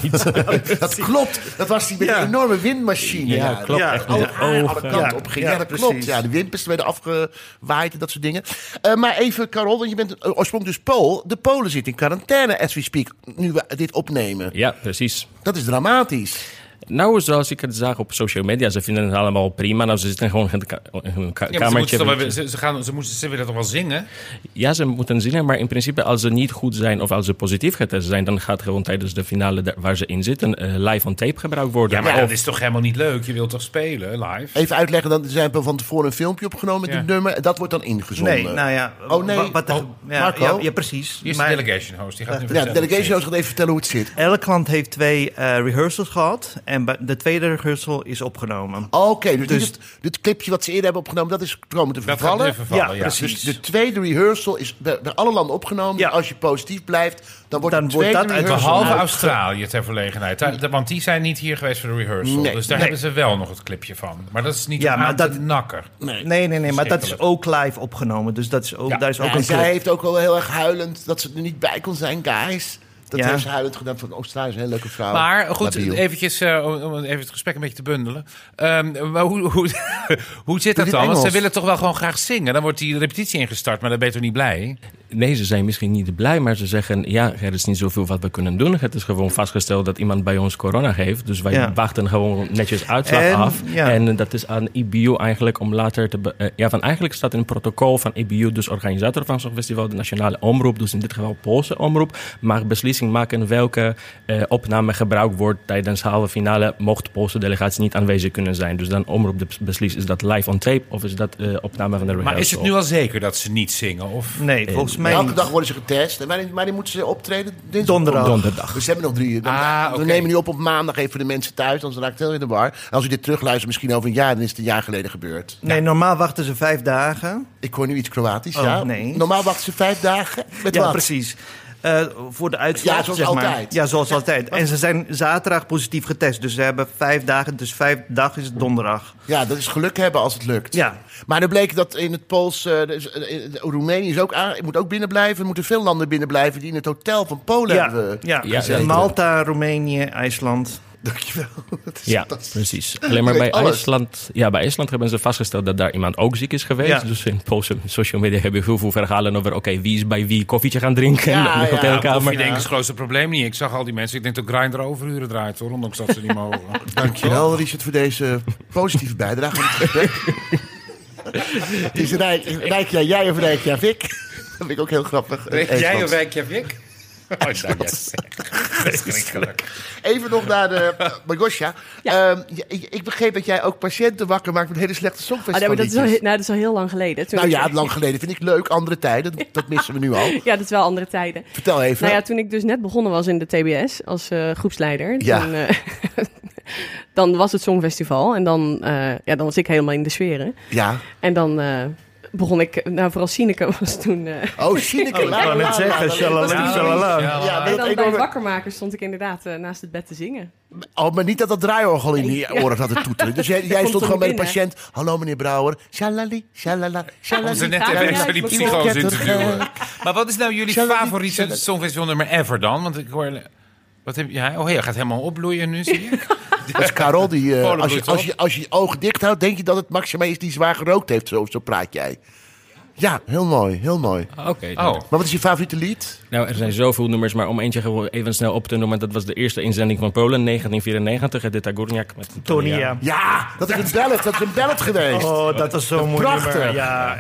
S8: niet.
S1: Dat klopt. Dat was die met
S6: Ja.
S1: die enorme windmachine.
S8: Ja, klopt.
S6: Ja.
S8: Echt met
S1: Alle,
S8: de
S1: haar alle
S8: ogen.
S1: kanten
S6: Ja.
S1: op ging. Ja,
S6: Ja,
S1: dat
S6: precies.
S1: klopt. Ja, de windpers werden afgewaaid en dat soort dingen. Eh, maar even, Carol, want je bent eh, oorspronkelijk dus Pool. De Polen zitten in quarantaine, as we speak, nu we dit opnemen.
S8: Ja, precies.
S1: Dat is dramatisch.
S8: Nou, zoals ik het zag op social media, ze vinden het allemaal prima. Nou, ze zitten gewoon in het ka- in hun ka-
S5: Ja, maar ze,
S8: kamertje.
S5: moeten toch wel- ze, ze, gaan, ze, moeten, ze willen toch wel zingen?
S8: Ja, ze moeten zingen, maar in principe als ze niet goed zijn of als ze positief getest zijn, dan gaat gewoon tijdens de finale daar- waar ze in zitten eh, live on tape gebruikt worden.
S5: Ja, maar
S8: Of-
S5: dat is toch helemaal niet leuk? Je wilt toch spelen live?
S1: Even uitleggen, dan zijn we van tevoren een filmpje opgenomen met
S5: Ja.
S1: dit nummer. En dat wordt dan ingezonden.
S6: Nee, nou ja.
S1: Oh, nee.
S6: wa- Wat,
S1: Oh,
S6: ja,
S1: Marco?
S6: ja, ja, precies.
S5: Hier is
S6: Maar
S5: de delegation host. Die gaat nu
S1: Ja,
S5: vertellen
S1: de
S5: hoe het
S1: delegation
S5: zit.
S1: host gaat even vertellen hoe het zit.
S6: elk land heeft twee eh, rehearsals gehad. En bij- de tweede rehearsal is opgenomen.
S1: Oké, dus,
S6: Dus-
S1: dit, dit clipje wat ze eerder hebben opgenomen, dat is komen te
S5: Dat gaat
S1: vervallen.
S5: nu vervallen, ja.
S6: Ja, precies.
S1: Dus de tweede rehearsal is bij, bij alle landen opgenomen.
S6: Ja.
S1: Als je positief blijft, dan wordt
S6: Dan
S1: de
S6: wordt
S1: tweede
S6: dat uit de
S1: rehearsal...
S5: Behalve
S6: Uit-
S5: Australië ter verlegenheid. Daar- daar- Want die zijn niet hier geweest voor de rehearsal.
S1: Nee,
S5: dus daar
S1: nee.
S5: hebben ze wel nog het clipje van. Maar dat is niet
S6: Ja,
S5: om
S6: maar
S5: aan te
S6: dat-
S5: nakker.
S6: Nee, nee, nee. Maar dat is
S5: Schrikkelijk.
S6: ook live opgenomen. Dus dat is ook,
S5: Ja.
S6: daar is ook
S1: Ja,
S6: een
S1: en zij
S6: clip.
S1: heeft ook wel heel erg huilend dat ze er niet bij kon zijn, guys. Dat
S6: Ja.
S1: heeft ze huilend gedaan van Australië, is een hele leuke vrouw.
S5: Maar goed,
S1: Oh, Labiel.
S5: eventjes, eh, om om even het gesprek een beetje te bundelen. Ehm, maar hoe, hoe, hoe zit dat
S1: dit
S5: dan? Want ze
S1: Engels.
S5: willen toch wel gewoon graag zingen. Dan wordt die repetitie ingestart, maar dan ben je toch niet blij?
S8: Nee, ze zijn misschien niet blij, maar ze zeggen: ja, er is niet zoveel wat we kunnen doen. Het is gewoon vastgesteld dat iemand bij ons corona heeft. Dus wij
S6: Ja.
S8: wachten gewoon netjes uitslag
S6: En,
S8: af.
S6: ja.
S8: En dat is aan IBU eigenlijk om later te. be- eh, ja, van eigenlijk staat in het protocol van IBU, dus organisator van zo'n festival, de nationale omroep, dus in dit geval Poolse omroep, mag beslissing maken welke eh, opname gebruikt wordt tijdens de halve finale. Mocht de Poolse delegatie niet aanwezig kunnen zijn. Dus dan omroep de- beslist: is dat live on tape of is dat eh, opname van de rehearsal?
S5: Maar is het nu al zeker dat ze niet zingen? Of?
S6: Nee, volgens mij
S1: Elke
S6: niet.
S1: dag worden ze getest. En wanneer, wanneer moeten ze optreden? Dinsdag?
S6: Donderdag.
S8: Donderdag.
S1: Dus ze hebben nog drie uur. Dan-
S5: Ah, oké.
S1: We nemen nu op op maandag even voor de mensen thuis, anders raakt het heel in de war. En als u dit terugluistert, misschien over een jaar, dan is het een jaar geleden gebeurd.
S6: Nee, normaal wachten ze vijf dagen.
S1: Ik hoor nu iets Kroatisch,
S6: Oh,
S1: ja.
S6: nee.
S1: Normaal wachten ze vijf dagen. Met
S6: ja,
S1: wat?
S6: precies. Eh, voor de uitslag,
S1: Ja, zoals
S6: zeg maar.
S1: altijd.
S6: Ja, zoals altijd. En ze zijn zaterdag positief getest. Dus ze hebben vijf dagen. Dus vijf dag is donderdag.
S1: Ja, dat is geluk hebben als het lukt.
S6: Ja.
S1: Maar dan bleek dat in het Pools... eh, dus, eh, eh, Roemenië is ook aan, moet ook binnen blijven. Er moeten veel landen binnen blijven die in het hotel van Polen
S6: Ja,
S1: hebben. eh,
S6: ja.
S8: Ja,
S6: Dus Malta, Roemenië, IJsland.
S1: Dankjewel. Dat is
S8: Ja,
S1: fantastisch.
S8: precies. Alleen maar
S1: Je
S8: bij
S1: weet alles.
S8: IJsland, ja, bij IJsland hebben ze vastgesteld dat daar iemand ook ziek is geweest.
S6: Ja.
S8: Dus in Poolse social media hebben we heel veel verhalen over... oké, wie is bij wie koffietje gaan drinken
S1: Ja,
S8: in de
S1: ja,
S5: of je
S8: hotelkamer.
S5: denkt, het is het grootste probleem niet. Ik zag al die mensen. Ik denk dat Grindr overuren draait, hoor. Ondanks dat ze niet mogen.
S1: Dankjewel, Richard, voor deze positieve bijdrage. aan het gesprek. Het is Rijk, Rijkja jij of Rijkja Vik? Dat vind ik ook heel grappig.
S5: jij of
S1: Eefland.
S5: Wijkje Vik? Oh, dat is verschrikkelijk.
S1: Even nog naar de eh, Margosja. Ehm, j- ik, ik begreep dat jij ook patiënten wakker maakt met hele slechte
S9: Ah, nee,
S1: songfestivals.
S9: maar dat, is al, he- nou, dat is al heel lang geleden. Toen
S1: nou
S9: ik-
S1: ja, lang geleden vind ik leuk. Andere tijden, dat- dat missen we nu al.
S9: ja, dat is wel andere tijden.
S1: Vertel even.
S9: Nou ja, toen ik dus net begonnen was in de TBS als eh, groepsleider,
S1: Ja.
S9: toen, eh, dan was het Songfestival en dan, eh, ja, dan was ik helemaal in de sferen.
S1: Ja.
S9: En dan eh, begon ik, nou vooral Sineke was toen... eh,
S1: Oh, Sineke.
S6: Ik wou net zeggen, shalala, shalala.
S1: Ja,
S9: en
S1: met
S9: dan
S1: dat
S9: bij het
S1: enorme...
S9: wakker maken stond ik inderdaad eh, naast het bed te zingen.
S1: oh, maar niet dat dat draaiorgel in je oren had het toeteren. Dus jij, jij
S9: Komt
S1: stond
S9: er
S1: gewoon bij de
S9: binnen.
S1: patiënt. Hallo meneer Brouwer. Shalali, shalala, shalali.
S5: Om ze net
S9: Ja,
S5: even
S9: ja,
S5: extra die
S9: ik moet-
S5: psycho's in te
S1: Ja.
S5: duwen. Maar wat is nou jullie
S1: Zullen we die-
S5: favoriete
S1: zullen we-
S5: songfestival nummer ever dan? Want ik hoor... Wat heb je? Ja, oh, je gaat helemaal opbloeien nu, zie ik.
S1: Dat is Carol die... eh,
S5: Polen
S1: als, je,
S5: bloeit op.
S1: als, je, als je je ogen dicht houdt, denk je dat het Maxima is die zwaar gerookt heeft. Zo, zo praat jij. Ja, heel mooi, heel mooi.
S8: Ah, Oké, nou,
S5: Oh.
S1: Maar wat is je favoriete lied?
S8: nou, er zijn zoveel nummers, maar om eentje gewoon even snel op te noemen... dat was de eerste inzending van Polen, 1994, Edita Górniak met Antonia.
S6: Tonia.
S1: Ja, dat is een ballet. Dat is een ballet geweest.
S6: Oh, dat was zo'n mooi
S1: Prachtig. Eh,
S6: nummer. Ja,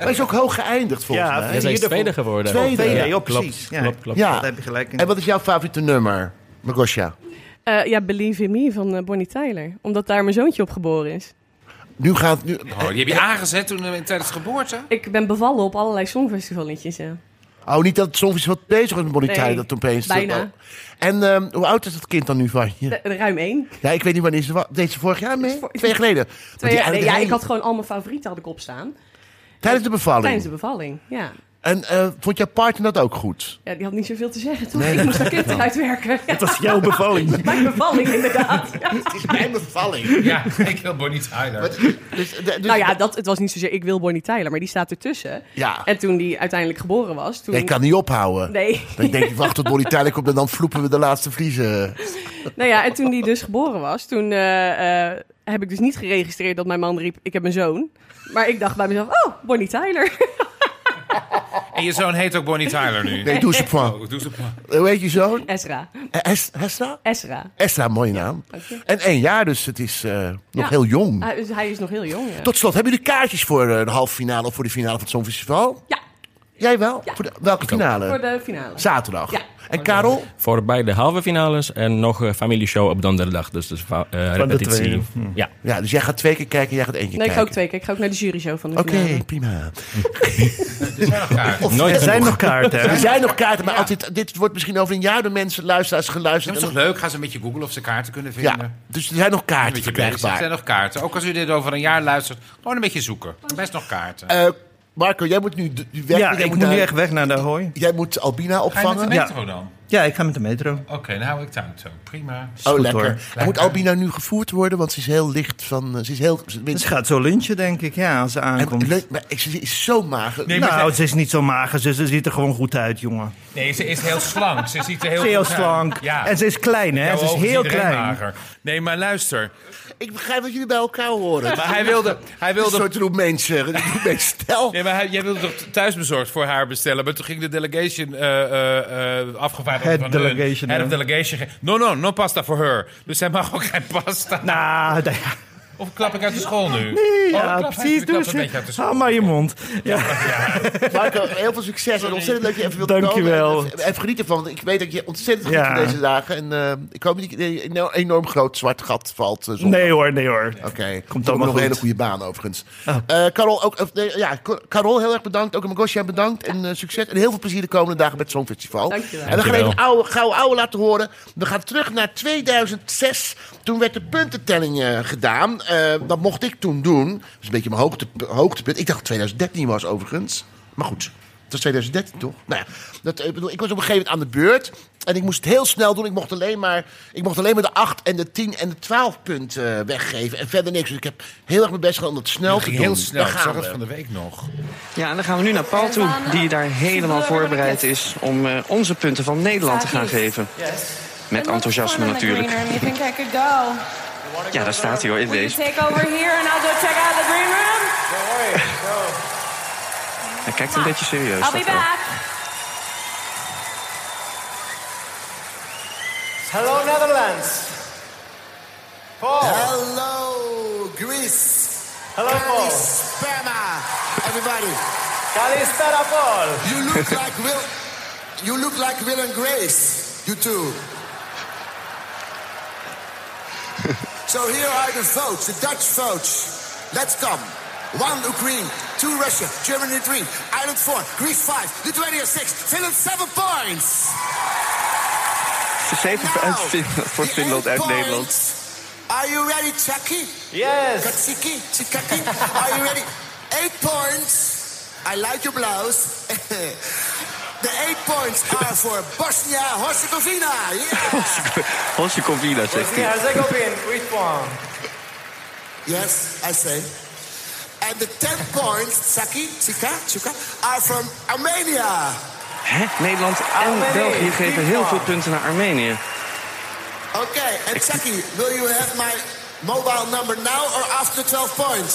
S1: Hij is ook hoog geëindigd volgens
S6: Ja,
S1: mij.
S8: Ja, zij is
S6: Hiervoor-
S8: tweede geworden.
S1: Tweede.
S6: tweede,
S1: Ja,
S6: ja,
S8: klopt,
S6: precies. Ja.
S8: klopt, klopt.
S1: Ja.
S6: Dat heb je gelijk in.
S1: En wat is jouw favoriete nummer, Magosja?
S9: Eh, ja, Believe in Me van eh, Bonnie Tyler. Omdat daar mijn zoontje op geboren is.
S1: Nu gaat nu.
S5: Oh, die heb je aangezet toen, eh, tijdens de geboorte?
S9: Ik ben bevallen op allerlei songfestivalletjes. Ja.
S1: Oh, niet dat het soms iets wat bezig was met Bonnie
S9: Nee,
S1: Tyler, dat opeens.
S9: bijna.
S1: Oh. En ehm, hoe oud is dat kind dan nu van je?
S9: De- de Eh, ruim één.
S1: Ja, ik weet niet wanneer ze wa- deed ze vorig jaar mee.
S9: voor-
S1: Twee jaar geleden. Want
S9: Twee
S1: die
S9: jaar- nee, ja,
S1: eigenlijk
S9: ik had
S1: heen-
S9: gewoon al mijn favorieten had ik opstaan.
S1: tijdens de bevalling.
S9: Tijdens de bevalling, ja.
S1: En eh, vond jouw partner dat ook goed?
S9: ja. Die had niet zoveel te zeggen toen ik moest dat kind eruit werken. Ja,
S6: Dat is jouw bevalling.
S9: Mijn bevalling inderdaad. Ja.
S1: Het is mijn bevalling.
S5: Ja, ik wil Bonnie Tyler.
S1: Dus, de- dus-
S9: Nou ja, dat, het was niet zozeer ik wil Bonnie Tyler, maar die staat ertussen.
S1: Ja.
S9: En toen die uiteindelijk geboren was, toen...
S1: Ja, ik kan niet ophouden.
S9: Nee.
S1: Dan denk ik, wacht tot Bonnie Tyler komt en dan vloepen we de laatste Eh, vliezen.
S9: Nou ja, en toen die dus geboren was, toen eh, eh, heb ik dus niet geregistreerd dat mijn man riep, ik heb een zoon. Maar ik dacht bij mezelf, oh, Bonnie Tyler.
S5: En je zoon heet ook Bonnie Tyler nu.
S1: Nee, doe ze van.
S5: Oh, doe ze maar.
S1: Hoe heet je zoon?
S9: Esra.
S1: Eh, Es- Hesla?
S9: Esra.
S1: Esla, mooie naam. En één jaar, dus het is eh, nog
S9: Ja.
S1: heel jong.
S9: Hij, dus hij is nog heel jong. ja.
S1: Tot slot, hebben jullie kaartjes voor eh, de halve finale of voor de finale van het Songfestival?
S9: Ja,
S1: Jij wel?
S9: Ja.
S1: Voor de- welke finale?
S9: voor de finale.
S1: Zaterdag.
S9: Ja.
S1: En Karel?
S8: Voor beide halve finales en nog een familieshow op donderdag. Dus, dus eh, repetitie.
S6: tweede.
S8: Ja.
S1: Ja, dus jij gaat twee keer kijken en jij gaat één keer
S9: Nee, ik ga
S1: kijken.
S9: ook twee keer. Ik ga ook naar de juryshow van de
S1: Oké,
S9: finale.
S1: prima.
S8: Nooit
S6: Er zijn
S8: genoeg.
S6: nog kaarten. hè?
S1: Er zijn nog kaarten, maar als dit, dit wordt misschien over een jaar door mensen, luisteraars,
S5: Dat
S1: geluisterd.
S5: is toch leuk? Ga ze een beetje googlen of ze kaarten kunnen
S1: ja,
S5: vinden.
S1: dus er zijn nog
S5: Een
S1: kaarten
S5: beetje bezig. Er
S1: verkrijgbaar.
S5: zijn nog kaarten. Ook als u dit over een jaar luistert, gewoon een beetje zoeken. Best nog kaarten.
S1: Eh, Marco, jij moet nu d- weg.
S6: Ja,
S1: jij
S6: ik moet
S1: naar-
S6: nu echt weg naar de hooi.
S1: Jij moet Albina
S5: Ga je met de
S1: opvangen.
S6: Ja.
S5: metro dan?
S6: Ja, ik ga met de metro.
S5: Oké, dan hou ik tijd zo. Prima.
S6: Is
S1: Oh,
S6: goed,
S1: lekker.
S6: hoor.
S1: En Moet Albina nu gevoerd worden? Want ze is heel licht van... eh, Ze is heel... Ze,
S6: Dus ze gaat zo lunchen, denk ik, ja, als ze
S1: en,
S6: aankomt.
S1: leuk, maar ze ze is zo mager.
S5: Nee, maar
S6: nou, ze is niet zo mager, ze, ze ziet er gewoon goed uit, jongen.
S5: Nee, ze is heel slank. Ze ziet er heel
S6: Ze is heel
S5: goed uit.
S6: slank
S5: Ja.
S6: en ze is klein, hè?
S5: Jouw
S6: Ze is
S5: ogen is
S6: heel
S5: iedereen
S6: klein.
S5: mager. Nee, maar luister.
S1: Ik begrijp dat jullie bij elkaar horen.
S5: Maar hij wilde... Hij
S1: Een
S5: wilde
S1: soort eh, roep mensen. Roep mensen, stel.
S5: Nee, maar hij- jij wilde toch thuisbezorgd voor haar bestellen, maar toen ging de delegation eh, eh, eh, afgevaardigd
S6: Head
S5: van
S6: delegation,
S5: hun, head
S6: ja.
S5: of delegation. ge- No, no, no pasta voor her. Dus zij mag ook geen pasta.
S6: Nou, da-
S5: Of klap ik uit de school nu?
S6: ja,
S5: Oh, klap-
S6: precies.
S5: ik klap
S6: Dus,
S5: een beetje uit de school.
S6: hou maar je mond. Ja.
S1: Marco, heel veel succes. En ontzettend leuk dat je even wilt
S6: Dankjewel.
S1: komen. En eh, Even, even genieten van. Want ik weet dat je ontzettend geniet
S6: Ja.
S1: van deze dagen. En eh, ik hoop niet dat je in een enorm groot zwart gat valt. eh, zondag.
S6: Nee hoor, nee hoor.
S1: Oké, komt
S6: Komt
S1: ook nog
S6: allemaal
S1: een hele
S6: goed. Oh.
S1: goede baan overigens. Eh, Carol, ook, of, nee, ja, Car- Carol, heel erg bedankt. Ook Magosha bedankt. En eh, succes. En heel veel plezier de komende dagen met het Songfestival.
S9: Dankjewel.
S1: En we gaan
S8: Dankjewel.
S1: even een oude, gouden oude laten horen. We gaan terug naar 2006. Toen werd de puntentelling eh, gedaan. Eh, dat mocht ik toen doen. Dat is een beetje mijn hoogte, hoogtepunt. Ik dacht dat 2013 was overigens. Maar goed, het was 2013 toch? Nou ja, dat, eh, ik bedoel, ik was op een gegeven moment aan de beurt. En ik moest het heel snel doen. Ik mocht alleen maar, ik mocht alleen maar de 8 en de 10 en de 12 punten eh, weggeven. En verder niks. Dus ik heb heel erg mijn best gedaan om dat snel
S5: Dat
S1: te
S5: ging
S1: doen.
S5: heel snel.
S1: Daar
S5: Ik zag
S1: gaan
S5: het van
S1: we.
S5: de week nog.
S10: Ja, en dan gaan we nu naar Paul toe, die daar helemaal voorbereid is om eh, onze punten van Nederland te gaan geven. Met enthousiasme natuurlijk. Ja, daar staat hij hoor in deze. Hij kijkt een beetje serieus. dat wel.
S2: Hello, Netherlands. Paul.
S4: Hello, Greece.
S2: Hello, Paul.
S4: Sperma. Everybody,
S2: Kalispera, Paul.
S4: you look like Will. You look like Will and Grace. You two. so here are the votes, the Dutch votes. Let's come. One Ukraine, two Russia, Germany three, Ireland four, Greece five, Lithuania six, Finland seven points.
S10: Zeven voor- uit Fin- voor
S4: the
S10: Finland
S4: eight
S10: uit
S4: points.
S10: Nederland.
S4: Are you ready, Chucky?
S2: Yes.
S4: Katsiki, Chikaki, are you ready? Eight points. I like your blouse. the eight points are for Bosnia Herzegovina. Yeah.
S10: Hosjekovina zegt
S2: Bosnia
S10: hij.
S2: Herzegovina, with one.
S4: yes, I say. And the ten points, Saki, Chika, Chuka, are from Armenia.
S10: Hè? Nederland
S2: Armenië,
S10: en België geven heel
S2: FIFA.
S10: veel punten naar Armenië.
S4: Okay, and Saki, will you have my mobile number now or after 12 points?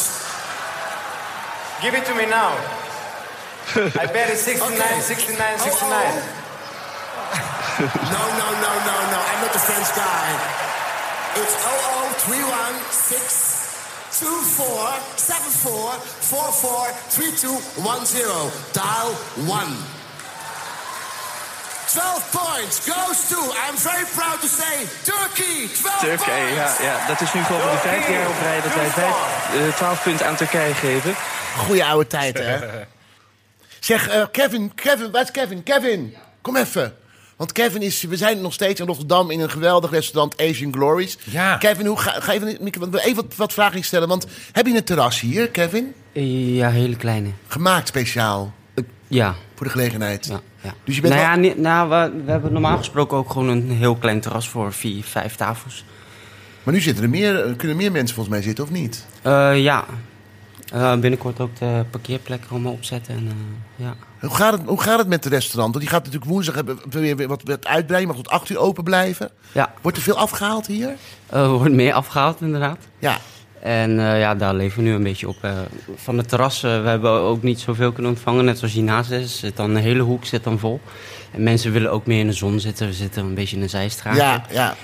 S2: Give it to me now. I bet it's 69,
S4: Okay.
S2: 69, 69.
S4: Oh, No, no, no, no, no. I'm not the French guy. It's oh 00316474443210. Dial 1. 12 points goes to, I'm very proud to say, Turkey. 12
S10: Turkije,
S4: points.
S10: ja, ja, dat is nu gewoon voor de vijfde jaar op rij dat wij vijf, eh, 12 punten aan Turkije geven.
S1: Goeie oude tijd, hè? Zeg, eh, Kevin, Kevin, waar is Kevin? Kevin, kom even. Want Kevin is, we zijn nog steeds in Rotterdam in een geweldig restaurant Asian Glories.
S5: Ja.
S1: Kevin, hoe ga, ga even, Mieke, want we even wat, wat vragen stellen. Want heb je een terras hier, Kevin?
S11: Ja, hele kleine.
S1: Gemaakt speciaal
S11: Ja.
S1: voor de gelegenheid.
S11: ja, ja.
S1: Dus je bent
S11: nou ja,
S1: wel-
S11: niet- nou, we, we hebben normaal gesproken ook gewoon een heel klein terras voor vier, vijf tafels.
S1: Maar nu zitten er meer, eh, kunnen meer mensen volgens mij zitten, of niet?
S11: Eh, ja. Eh, binnenkort ook de parkeerplek allemaal opzetten. En, eh, ja.
S1: Hoe gaat, het, hoe gaat het met het restaurant? Want die gaat natuurlijk woensdag hebben, weer, weer wat, wat uitbreiden, maar tot 8 uur open blijven.
S11: Ja,
S1: Wordt er veel afgehaald hier?
S11: eh, er wordt meer afgehaald inderdaad.
S1: Ja.
S11: En eh, ja, daar leven we nu een beetje op. eh. van de terrassen, we hebben ook niet zoveel kunnen ontvangen. Net zoals hiernaast is, zit dan de hele hoek zit dan vol. En mensen willen ook meer in de zon zitten. We zitten een beetje in de zijstraat.
S1: Ja, ja.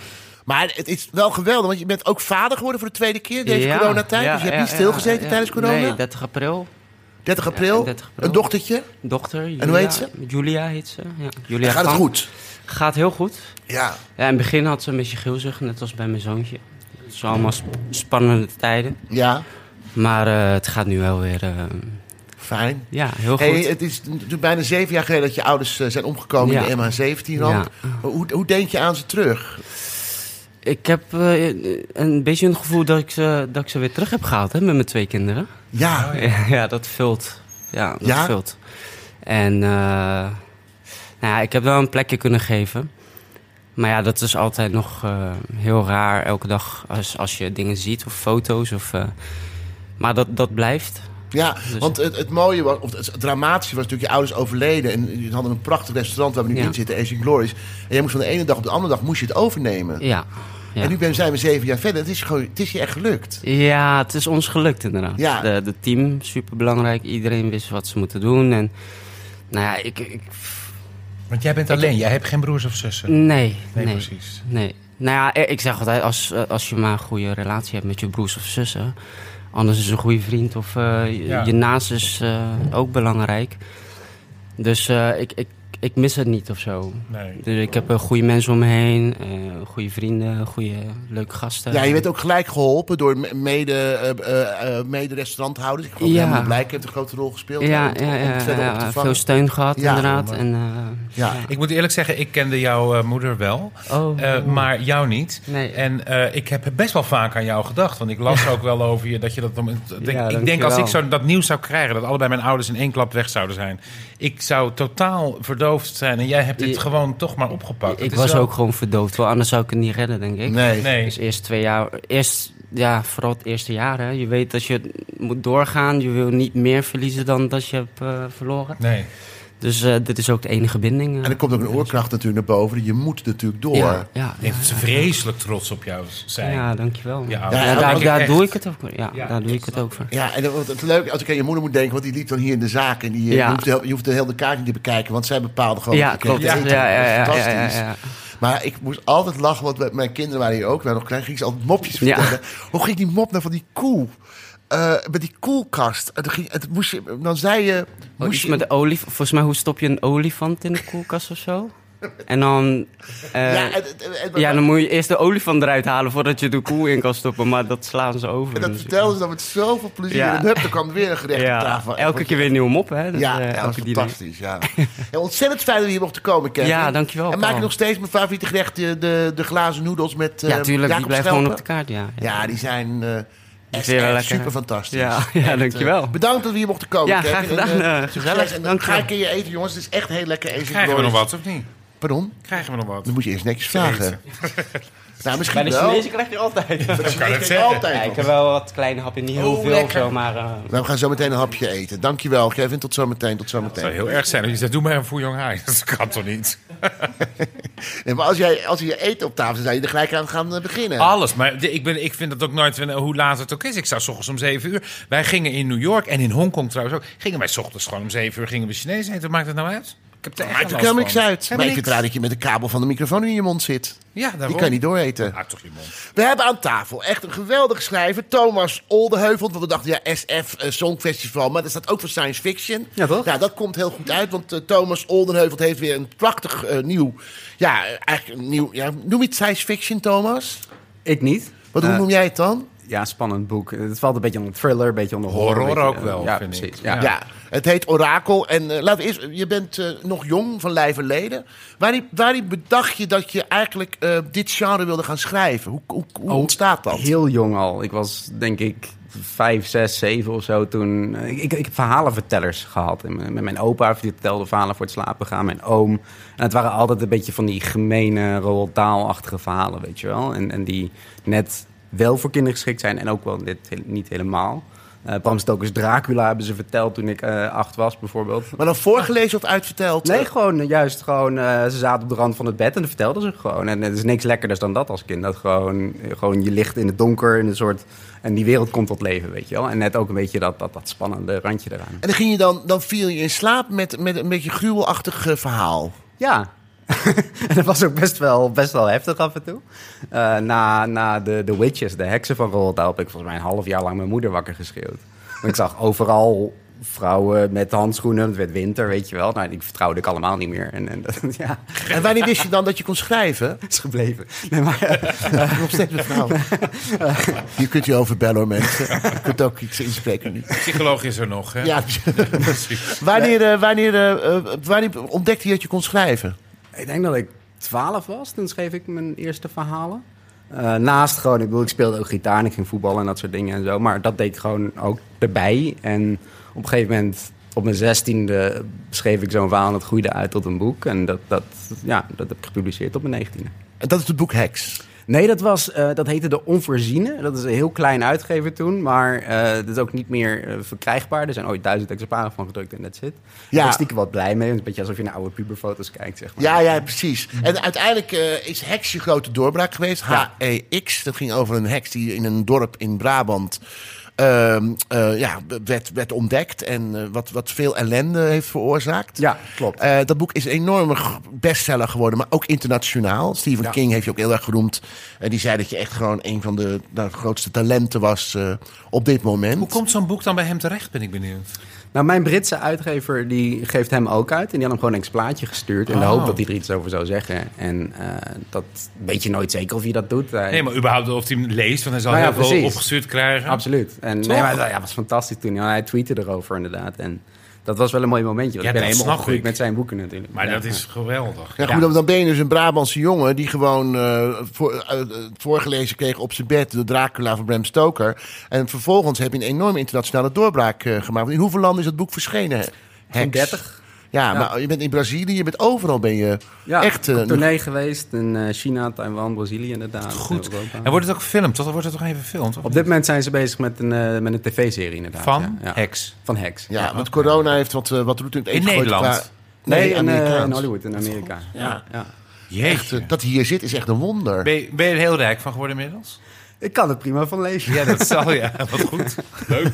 S1: Maar het is wel geweldig, want je bent ook vader geworden voor de tweede keer deze
S11: Ja,
S1: coronatijd.
S11: ja,
S1: dus je hebt
S11: ja,
S1: niet stilgezeten
S11: ja, ja.
S1: tijdens corona.
S11: Nee, 30 april.
S1: 30, april,
S11: Ja, 30 april.
S1: een dochtertje.
S11: Dochter. Julia,
S1: hoe heet ze?
S11: Julia heet ze. Ja. Julia
S1: Gaat het
S11: Kamp.
S1: goed?
S11: Gaat heel goed.
S1: Ja.
S11: Ja, in het begin had ze een beetje geelzucht, net als bij mijn zoontje. Het zijn allemaal sp- spannende tijden.
S1: Ja,
S11: Maar eh, het gaat nu wel weer eh,
S1: fijn.
S11: ja, heel goed.
S1: Hey, het is natuurlijk bijna zeven jaar geleden dat je ouders eh, zijn omgekomen
S11: Ja.
S1: in de MH17-ramp. Hoe, hoe denk je aan ze terug?
S11: Ik heb eh, een beetje het gevoel dat ik ze, dat ik ze weer terug heb gehaald hè, met mijn twee kinderen. Oh,
S1: Ja,
S11: Ja, dat vult. Ja, dat
S1: Ja?
S11: vult. En eh, nou ja, ik heb wel een plekje kunnen geven. Maar ja, dat is altijd nog eh, heel raar elke dag als, als je dingen ziet of foto's. Of, eh, maar dat, dat blijft.
S1: Ja,
S11: Dus-
S1: want het, het mooie was, of het het dramatische was natuurlijk, je ouders overleden. En jullie hadden een prachtig restaurant waar we nu
S11: Ja.
S1: in zitten, Asian Glories. En jij moest van de ene dag op de andere dag moest je het overnemen.
S11: Ja. Ja.
S1: En nu ben, zijn we zeven jaar verder. Het is, gewoon, het is je echt gelukt.
S11: Ja, het is ons gelukt inderdaad.
S1: Ja.
S11: De, de team, superbelangrijk. Iedereen wist wat ze moeten doen. En, nou ja, ik... ik
S5: Want jij bent alleen, jij hebt geen broers of zussen.
S11: nee, nee.
S5: Nee, precies.
S11: Nee. Nou ja, eh, ik zeg altijd, als, eh, als je maar een goede relatie hebt met je broers of zussen... anders is een goede vriend of eh, je,
S5: Ja.
S11: je naast is eh, ook belangrijk. Dus eh, ik, ik, ik mis het niet of zo.
S5: Nee.
S11: Dus ik heb eh, goede mensen om me heen, eh, goede vrienden, goede leuke gasten.
S1: Ja, je werd ook gelijk geholpen door me- mede, eh, eh, eh, mede-restauranthouders. Ik geloof
S11: Ja.
S1: ja. Helmut Blijk heeft een grote rol gespeeld.
S11: Ja,
S1: om-
S11: ja,
S1: om
S11: ja,
S1: het verder
S11: ja,
S1: op te vangen.
S11: veel steun gehad
S1: Ja,
S11: inderdaad.
S1: maar-
S11: En, eh,
S1: Ja.
S5: Ik moet eerlijk zeggen, ik kende jouw eh, moeder wel,
S11: Oh.
S5: eh, maar jou niet.
S11: Nee.
S5: En eh, ik heb best wel vaak aan jou gedacht, want ik las ook wel over je dat je dat. om- Ik denk, ik denk als
S11: dankjewel.
S5: ik zo dat nieuws zou krijgen, dat allebei mijn ouders in één klap weg zouden zijn, ik zou totaal verdoofd zijn. En jij hebt dit
S11: Je-
S5: gewoon toch maar opgepakt. Het
S11: ik
S5: is
S11: was
S5: wel-
S11: ook gewoon verdoofd, wel, anders zou ik het niet redden, denk ik.
S1: Nee.
S5: Nee.
S11: Dus eerst twee jaar, eerst, ja, vooral het eerste jaar. Hè. Je weet dat je moet doorgaan, je wil niet meer verliezen dan dat je hebt eh, verloren.
S5: Nee.
S11: Dus eh, dit is ook de enige binding. eh.
S1: En er komt ook een oorkracht natuurlijk naar boven. Je moet natuurlijk door.
S11: ja, ja,
S5: Ik
S11: ja,
S5: denk dat ze vreselijk trots op jou zijn.
S11: ja, dankjewel. man.
S5: Ja,
S11: Ja,
S5: dat denk
S11: daar
S5: ik
S11: daar
S5: echt.
S11: doe ik het ook voor. Ja,
S5: Ja,
S11: daar doe
S5: dat
S11: ik het ook voor.
S1: Ja, en dat- want het leuke, als ik aan je moeder moet denken, want die liep dan hier in de zaak. En die, eh,
S11: Ja.
S1: je, hoeft de, je hoeft de hele kaart niet te bekijken, want zij bepaalde gewoon.
S11: Ja,
S1: wat je kreeg
S11: klopt.
S1: te
S11: Ja,
S1: eten.
S11: ja, ja, ja,
S1: Dat is
S11: ja,
S1: fantastisch.
S11: ja, ja.
S1: Maar ik moest altijd lachen, want mijn- mijn kinderen waren hier ook. Wij nog klein, ging ze altijd mopjes
S11: Ja.
S1: vertellen. Hoe ging die mop nou van die koe? Eh, met die koelkast. En toen ging, het moest je, dan zei je...
S11: Oh,
S1: moest
S11: iets
S1: je
S11: met de olif Volgens mij, hoe stop je een olifant in de koelkast of zo? En dan... eh,
S1: ja, en- en- en-
S11: Ja, dan moet je eerst de olifant eruit halen voordat je de koe in kan stoppen. Maar dat slaan ze over.
S1: en dat
S11: Dus-
S1: vertelden ze dan met zoveel plezier.
S11: Ja.
S1: En hup, er kwam weer een gerecht
S11: ja,
S1: op tafel.
S11: Elke keer weer nieuw mop, hè? Dus,
S1: Ja,
S11: eh,
S1: ja, dat
S11: elke
S1: is
S11: diner.
S1: fantastisch. Ja. En ontzettend fijn dat we hier mochten komen, Kevin.
S11: Ja, dankjewel,
S1: En maak je
S11: Paul.
S1: nog steeds mijn favoriete gerecht, de, de, de glazen noedels met eh
S11: Ja, tuurlijk. Die
S1: Jacob
S11: blijft
S1: Schelpen?
S11: gewoon op de kaart, ja.
S1: Ja, die zijn eh echt,
S11: Weer wel
S1: echt
S11: lekker.
S1: super fantastisch. eh,
S11: Ja, ja
S5: eh,
S11: dankjewel.
S1: Bedankt dat we hier mochten komen.
S11: Ja,
S1: Kevin.
S11: graag gedaan,
S1: En, eh,
S11: eh,
S1: succes.
S11: gezellig.
S1: En dan
S11: Dank je
S1: ga
S11: wel.
S1: ik in je eten, jongens. Het is echt heel lekker. Asian
S5: Krijgen we nog
S1: Glories.
S5: wat of niet?
S1: Pardon?
S5: Krijgen we nog wat?
S1: Dan moet je eerst netjes vragen. Nou, misschien wel.
S11: krijg je altijd.
S1: Dat kan
S5: het zeggen.
S11: Ja,
S1: altijd.
S11: ik
S1: nog.
S11: heb wel wat kleine happen, niet heel
S1: Oh,
S11: veel of
S1: lekker.
S11: zo, maar... eh,
S1: Nou, we gaan zo meteen een hapje eten. Dankjewel, Kevin. Tot zometeen. Tot
S5: Het zou
S1: zometeen.
S5: heel erg zijn. als Je zegt, doe maar een Fuyong Hai. Dat kan toch niet?
S1: Nee, maar als jij, als je je eten op tafel zet, zou je er gelijk aan gaan eh, beginnen.
S5: Alles, maar de- ik, ben, ik vind dat ook nooit eh, hoe laat het ook is. Ik sta 's ochtends om 7 uur. Wij gingen in New York en in Hongkong trouwens ook. Gingen wij 's ochtends gewoon om 7 uur gingen we Chinees eten. Wat Maakt het nou uit? Ik heb er echt
S1: Maakt
S5: geen
S1: ook helemaal
S5: last
S1: niks
S5: van.
S1: uit. Maar
S5: Helemaal
S1: ik vind het raar dat je met de kabel van de microfoon in je mond zit.
S5: Ja, daarom.
S1: Die kan je niet dooreten.
S5: Ah, toch je mond.
S1: We hebben aan tafel echt een geweldige schrijver, Thomas Oldeheuvel. Want we dachten, ja, SF eh, Songfestival, maar dat staat ook voor science fiction.
S11: Ja, toch?
S1: Nou, dat komt heel goed uit, want eh, Thomas Oldeheuvel heeft weer een prachtig eh, nieuw... Ja, eh, eigenlijk een nieuw... Ja, noem je het science fiction, Thomas?
S11: Ik niet.
S1: Wat, hoe noem jij het dan?
S12: ja, spannend boek. Het valt een beetje onder thriller, een beetje onder horror.
S5: Horror
S12: een beetje,
S5: ook
S12: eh,
S5: wel,
S12: ja,
S5: vind ik.
S12: precies.
S1: Ja.
S12: Ja.
S1: het heet Orakel. En eh, laten we eerst, je bent eh, nog jong van lijf en leden. Waarin, waarin bedacht je dat je eigenlijk eh, dit genre wilde gaan schrijven? Hoe, hoe, hoe ontstaat dat?
S12: Heel jong al. Ik was denk ik vijf, zes, zeven of zo toen. eh, Ik, ik, ik heb verhalenvertellers gehad. En mijn- Met mijn opa die vertelde verhalen voor het slapen gaan. Mijn oom. En het waren altijd een beetje van die gemene, Roald Dahl-achtige verhalen, weet je wel. En, en die net wel voor kinderen geschikt zijn en ook wel net he- niet helemaal. Eh Bram Stoker's Dracula hebben ze verteld toen ik eh, acht was, bijvoorbeeld.
S1: Maar dan voorgelezen of uitverteld?
S12: Nee, gewoon eh, juist gewoon... eh, ze zaten op de rand van het bed en dat vertelden ze gewoon. En het is niks lekkerders dan dat als kind. Dat gewoon, eh, gewoon je ligt in het donker in een soort... En die wereld komt tot leven, weet je wel. En net ook een beetje dat, dat, dat spannende randje eraan.
S1: En dan, ging je dan, dan viel je in slaap met, met een beetje gruwelachtig eh, verhaal.
S12: Ja. en dat was ook best wel, best wel heftig af en toe. Eh, na na de, de witches, de heksen van Roald Dahl... heb ik volgens mij een half jaar lang mijn moeder wakker geschreeuwd. Want ik zag overal vrouwen met handschoenen. Het werd winter, weet je wel. Nou, die vertrouwde ik allemaal niet meer. En, en dat, ja.
S1: En wanneer wist je dan dat je kon schrijven?
S12: is gebleven. Nee, maar, eh,
S1: Nog steeds een verhaal. Je kunt je over bellen hoor, mensen. Je kunt ook iets inspreken nu.
S5: Psycholoog is er nog, hè?
S1: Ja.
S5: precies.
S1: Wanneer, eh, wanneer, eh, eh, wanneer ontdekte je dat je kon schrijven?
S12: Ik denk dat ik 12 was, toen schreef ik mijn eerste verhalen. Eh, naast gewoon, ik bedoel, ik speelde ook gitaar en ik ging voetballen en dat soort dingen en zo. Maar dat deed ik gewoon ook erbij. En op een gegeven moment, op mijn zestiende, schreef ik zo'n verhaal en dat groeide uit tot een boek. En dat, dat, ja, dat heb ik gepubliceerd op mijn negentiende.
S1: En dat is het boek Heks?
S12: Nee, dat, was, eh, dat heette De Onvoorziene. Dat is een heel klein uitgever toen, maar eh dat is ook niet meer eh, verkrijgbaar. Er zijn ooit duizend exemplaren van gedrukt en that's it.
S1: Ja.
S12: Ja. Ik was stiekem wat blij mee. Het is een beetje alsof je naar oude puberfoto's kijkt, zeg maar.
S1: Ja, ja, precies. En uiteindelijk eh, is Heks je grote doorbraak geweest. H-E-X. Dat ging over een heks die in een dorp in Brabant ehm, eh, ja, werd, werd ontdekt. En eh, wat, wat veel ellende heeft veroorzaakt.
S12: Ja, klopt.
S1: Eh, dat boek is een enorme g- bestseller geworden, maar ook internationaal. Stephen
S12: Ja.
S1: King heeft je ook heel erg geroemd. En die zei dat je echt gewoon een van de, de grootste talenten was eh, op dit moment.
S5: Hoe komt zo'n boek dan bij hem terecht, ben ik benieuwd.
S12: Nou, mijn Britse uitgever die geeft hem ook uit. En die had hem gewoon een plaatje gestuurd. In de
S5: Oh.
S12: hoop dat hij er iets over zou zeggen. En eh, dat weet je nooit zeker of hij dat doet. Hij-
S5: Nee, maar überhaupt of hij hem leest, want hij zal
S12: Nou ja,
S5: heel veel
S12: precies.
S5: opgestuurd krijgen.
S12: Absoluut. En
S5: Toch?
S12: nee, maar, ja, het was fantastisch toen. Ja, hij tweette erover inderdaad. En dat was wel een mooi momentje. Want
S5: Ja,
S12: ik ben
S5: dat
S12: helemaal
S5: snap
S12: opgegroeid
S5: ik.
S12: met zijn boeken natuurlijk.
S5: Maar
S12: Ja.
S5: dat is geweldig.
S1: Ja, goed, dan- dan ben je dus een Brabantse jongen die gewoon eh, voor, eh, eh, voorgelezen kreeg op zijn bed de Dracula van Bram Stoker. En vervolgens heb je een enorme internationale doorbraak eh, gemaakt. Want In hoeveel landen is dat boek verschenen? Heks?
S12: 30.
S1: Ja,
S12: Ja.
S1: maar je bent in Brazilië, je bent overal ben je
S12: Ja,
S1: echt...
S12: echt
S1: eh,
S12: een tournee geweest in eh, China, Taiwan, Brazilië inderdaad.
S5: Goed.
S12: Europa.
S5: En wordt het ook gefilmd, toch? Dan wordt het toch even gefilmd, toch?
S12: Op dit moment zijn ze bezig met een, eh, met een tv-serie inderdaad.
S5: Van
S12: ja, ja.
S5: Heks.
S12: Van Heks.
S1: ja, want corona heeft wat, eh, wat roet in het eten
S5: In
S1: gegooid
S5: Nederland?
S12: Nee,
S1: Nee,
S12: in, eh,
S1: Amerikaans.
S12: in Hollywood, in Amerika. Ja. ja.
S1: Echt, eh, dat hij hier zit is echt een wonder.
S5: Ben je, ben je er heel rijk van geworden inmiddels?
S12: Ik kan het prima van lezen.
S5: Ja, dat zal ja. Wat goed. Leuk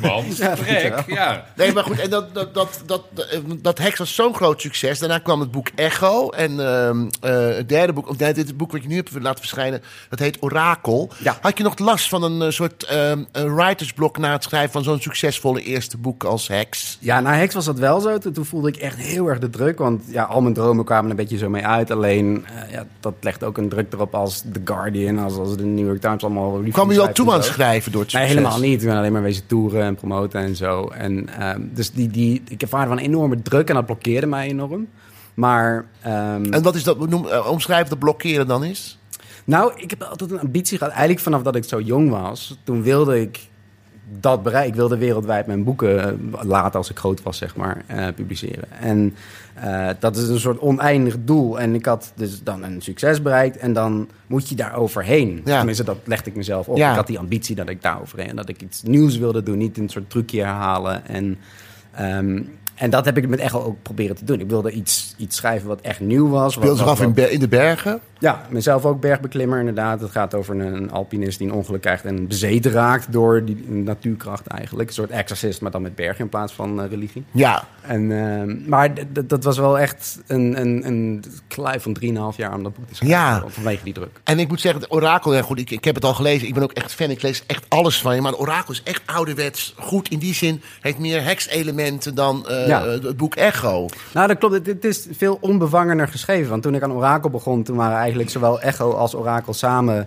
S5: man. Gek, ja.
S1: Nee, maar goed, en dat, dat, dat, dat, eh, dat Heks was zo'n groot succes. Daarna kwam het boek Echo. En ehm, eh, het derde boek, of nee, dit boek wat je nu hebt laten verschijnen, dat heet Orakel.
S12: Ja.
S1: Had je nog last van een eh, soort ehm, een writersblok na het schrijven van zo'n succesvolle eerste boek als Heks?
S12: Ja, na Hex was dat wel zo. Toen, toen voelde ik echt heel erg de druk. Want ja, al mijn dromen kwamen een beetje zo mee uit. Alleen, eh, ja, dat legt ook een druk erop als The Guardian, als, als de New York Times allemaal...
S1: Kwam je
S12: je
S1: wel toe aan het schrijven door het
S12: Nee,
S1: succes?
S12: helemaal niet. Ik ben alleen maar wezen toeren en promoten en zo. En, ehm, dus die, die, ik ervaarde van enorme druk en dat blokkeerde mij enorm. Maar... ehm,
S1: En wat is dat, noem, eh, omschrijf dat blokkeren dan is?
S12: nou, ik heb altijd een ambitie gehad. Eigenlijk vanaf dat ik zo jong was, toen wilde ik dat bereiken. Ik wilde wereldwijd mijn boeken, eh, later als ik groot was, zeg maar, eh, publiceren. En eh, dat is een soort oneindig doel. En ik had dus dan een succes bereikt en dan moet je daar overheen.
S1: Ja.
S12: Tenminste, dat legde ik mezelf op.
S1: Ja.
S12: Ik had die ambitie dat ik daar overheen, en dat ik iets nieuws wilde doen, niet een soort trucje herhalen. En... ehm, en dat heb ik met Echo ook proberen te doen. Ik wilde iets, iets schrijven wat echt nieuw was. wat-
S1: Beeld zich
S12: wat-
S1: af in,
S12: wat-
S1: ber- in de bergen.
S12: ja, mezelf ook bergbeklimmer inderdaad. Het gaat over een, een alpinist die een ongeluk krijgt en bezeten raakt door die natuurkracht eigenlijk. Een soort exorcist, maar dan met bergen in plaats van eh, religie.
S1: Ja.
S12: En, eh, maar d- d- dat was wel echt een, een, een kluif van 3,5 jaar om dat boek te schrijven.
S1: Ja.
S12: Vanwege die druk.
S1: En ik moet zeggen, het Orakel, ja goed, ik, ik heb het al gelezen. Ik ben ook echt fan, ik lees echt alles van je. Maar het Orakel is echt ouderwets goed. In die zin heeft meer hekselementen dan eh,
S12: Ja.
S1: eh, het boek Echo.
S12: Nou, dat klopt. Het, het is veel onbevangener geschreven. Want toen ik aan Orakel begon, toen waren eigenlijk zowel Echo als Orakel samen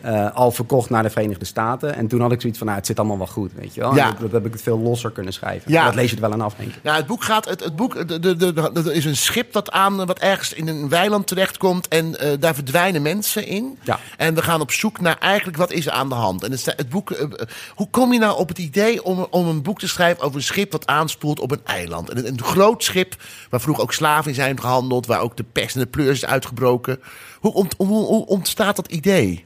S12: eh, eh, al verkocht naar de Verenigde Staten. En toen had ik zoiets van, nou, het zit allemaal wel goed, weet je wel. En
S1: Ja.
S12: Dat, dat heb ik het veel losser kunnen schrijven.
S1: Ja.
S12: Dat lees je het wel aan af, denk ik.
S1: Nou, het boek gaat. Het, het boek, er de, de, de- er is een schip dat aan. eh, wat ergens in een weiland terechtkomt. En eh, daar verdwijnen mensen in.
S12: Ja.
S1: En we gaan op zoek naar eigenlijk wat is er aan de hand. En het, sta- het boek. eh, eh, hoe kom je nou op het idee om, om een boek te schrijven over een schip dat aanspoelt op een eiland? En een, een groot schip waar vroeger ook slaven in zijn gehandeld. Waar ook de pest en de pleurs is uitgebroken. Hoe, ont, hoe, hoe ontstaat dat idee?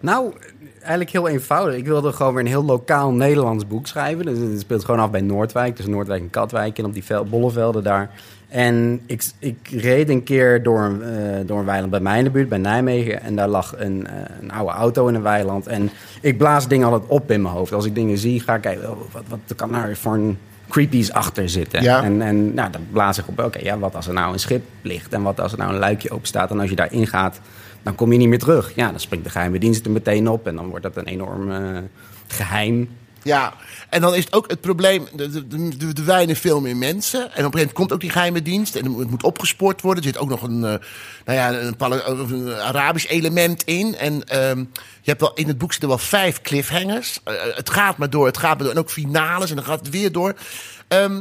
S12: Nou, eigenlijk heel eenvoudig. Ik wilde gewoon weer een heel lokaal Nederlands boek schrijven. Dus het speelt gewoon af bij Noordwijk. Dus Noordwijk en Katwijk en op die vel- bollevelden daar. En ik, ik reed een keer door een, eh, door een weiland bij mij in de buurt, bij Nijmegen. En daar lag een, eh, een oude auto in een weiland. En ik blaas dingen altijd op in mijn hoofd. Als ik dingen zie, ga ik kijken, oh, wat, wat kan daar voor een creepies achter zitten.
S1: Ja.
S12: En, en nou, dan blaas ik op, oké, ja, wat als er nou een schip ligt? En wat als er nou een luikje open staat? En als je daarin gaat, dan kom je niet meer terug. Ja, dan springt de geheime dienst er meteen op. En dan wordt dat een enorm eh, geheim.
S1: Ja, en dan is het ook het probleem, er- er- er er verdwijnen veel meer mensen. En op een gegeven moment komt ook die geheime dienst en het moet opgespoord worden. Er zit ook nog een, eh, nou ja, een, pala- of een eh, Arabisch element in. En ehm, je hebt wel, in het boek zitten wel vijf cliffhangers. Eh, eh, het gaat maar door, het gaat maar door. En ook finales en dan gaat het weer door. Ehm,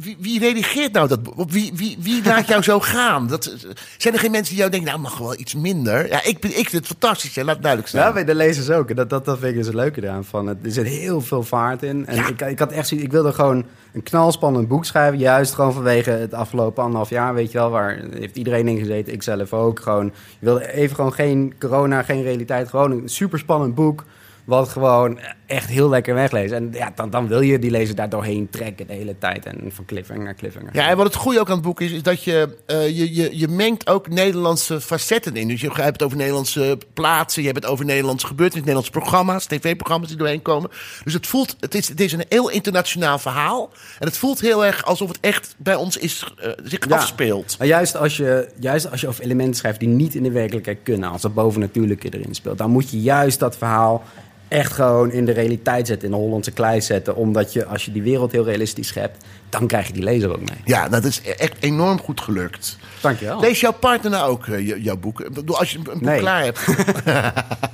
S1: wie, wie redigeert nou dat? bo- Wie, wie, wie laat jou zo gaan? Dat, eh, zijn er geen mensen die jou denken, nou mag wel iets minder? Ja, ik, ben- ik vind het fantastisch, hè, laat het duidelijk zijn.
S12: Ja, bij de lezers ook. En Dat, dat, dat vind ik dus het leuke eraan. Van. Het- Er zit heel veel vaart in. En ik, ik had echt zoiets- ik wilde gewoon een knalspannend boek schrijven. Juist gewoon vanwege het afgelopen anderhalf jaar, weet je wel. Waar heeft iedereen in gezeten, ik zelf ook. Gewoon, je wilde even gewoon geen corona, geen realiteit. Gewoon een superspannend boek. Wat gewoon echt heel lekker weglezen. En ja, dan, dan wil je die lezer daar doorheen trekken de hele tijd. En van cliffhanger naar cliffhanger.
S1: Ja, en wat het goede ook aan het boek is, is dat je, eh, je, je, je mengt ook Nederlandse facetten in. Dus je hebt het over Nederlandse plaatsen, je hebt het over Nederlandse gebeurtenissen, Nederlandse programma's, tv-programma's die doorheen komen. Dus het voelt, het is, het is een heel internationaal verhaal. En het voelt heel erg alsof het echt bij ons is, eh, zich
S12: Ja.
S1: afspeelt.
S12: Maar juist als, je, juist als je over elementen schrijft die niet in de werkelijkheid kunnen, als dat bovennatuurlijke erin speelt, dan moet je juist dat verhaal echt gewoon in de realiteit zetten, in de Hollandse klei zetten. Omdat je, als je die wereld heel realistisch schept, dan krijg je die lezer ook mee.
S1: Ja, dat is e-, echt enorm goed gelukt.
S12: Dankjewel.
S1: Leest jouw partner nou ook eh, jou- jouw boek? Ik bedoel, Als je een boek
S12: Nee.
S1: klaar hebt.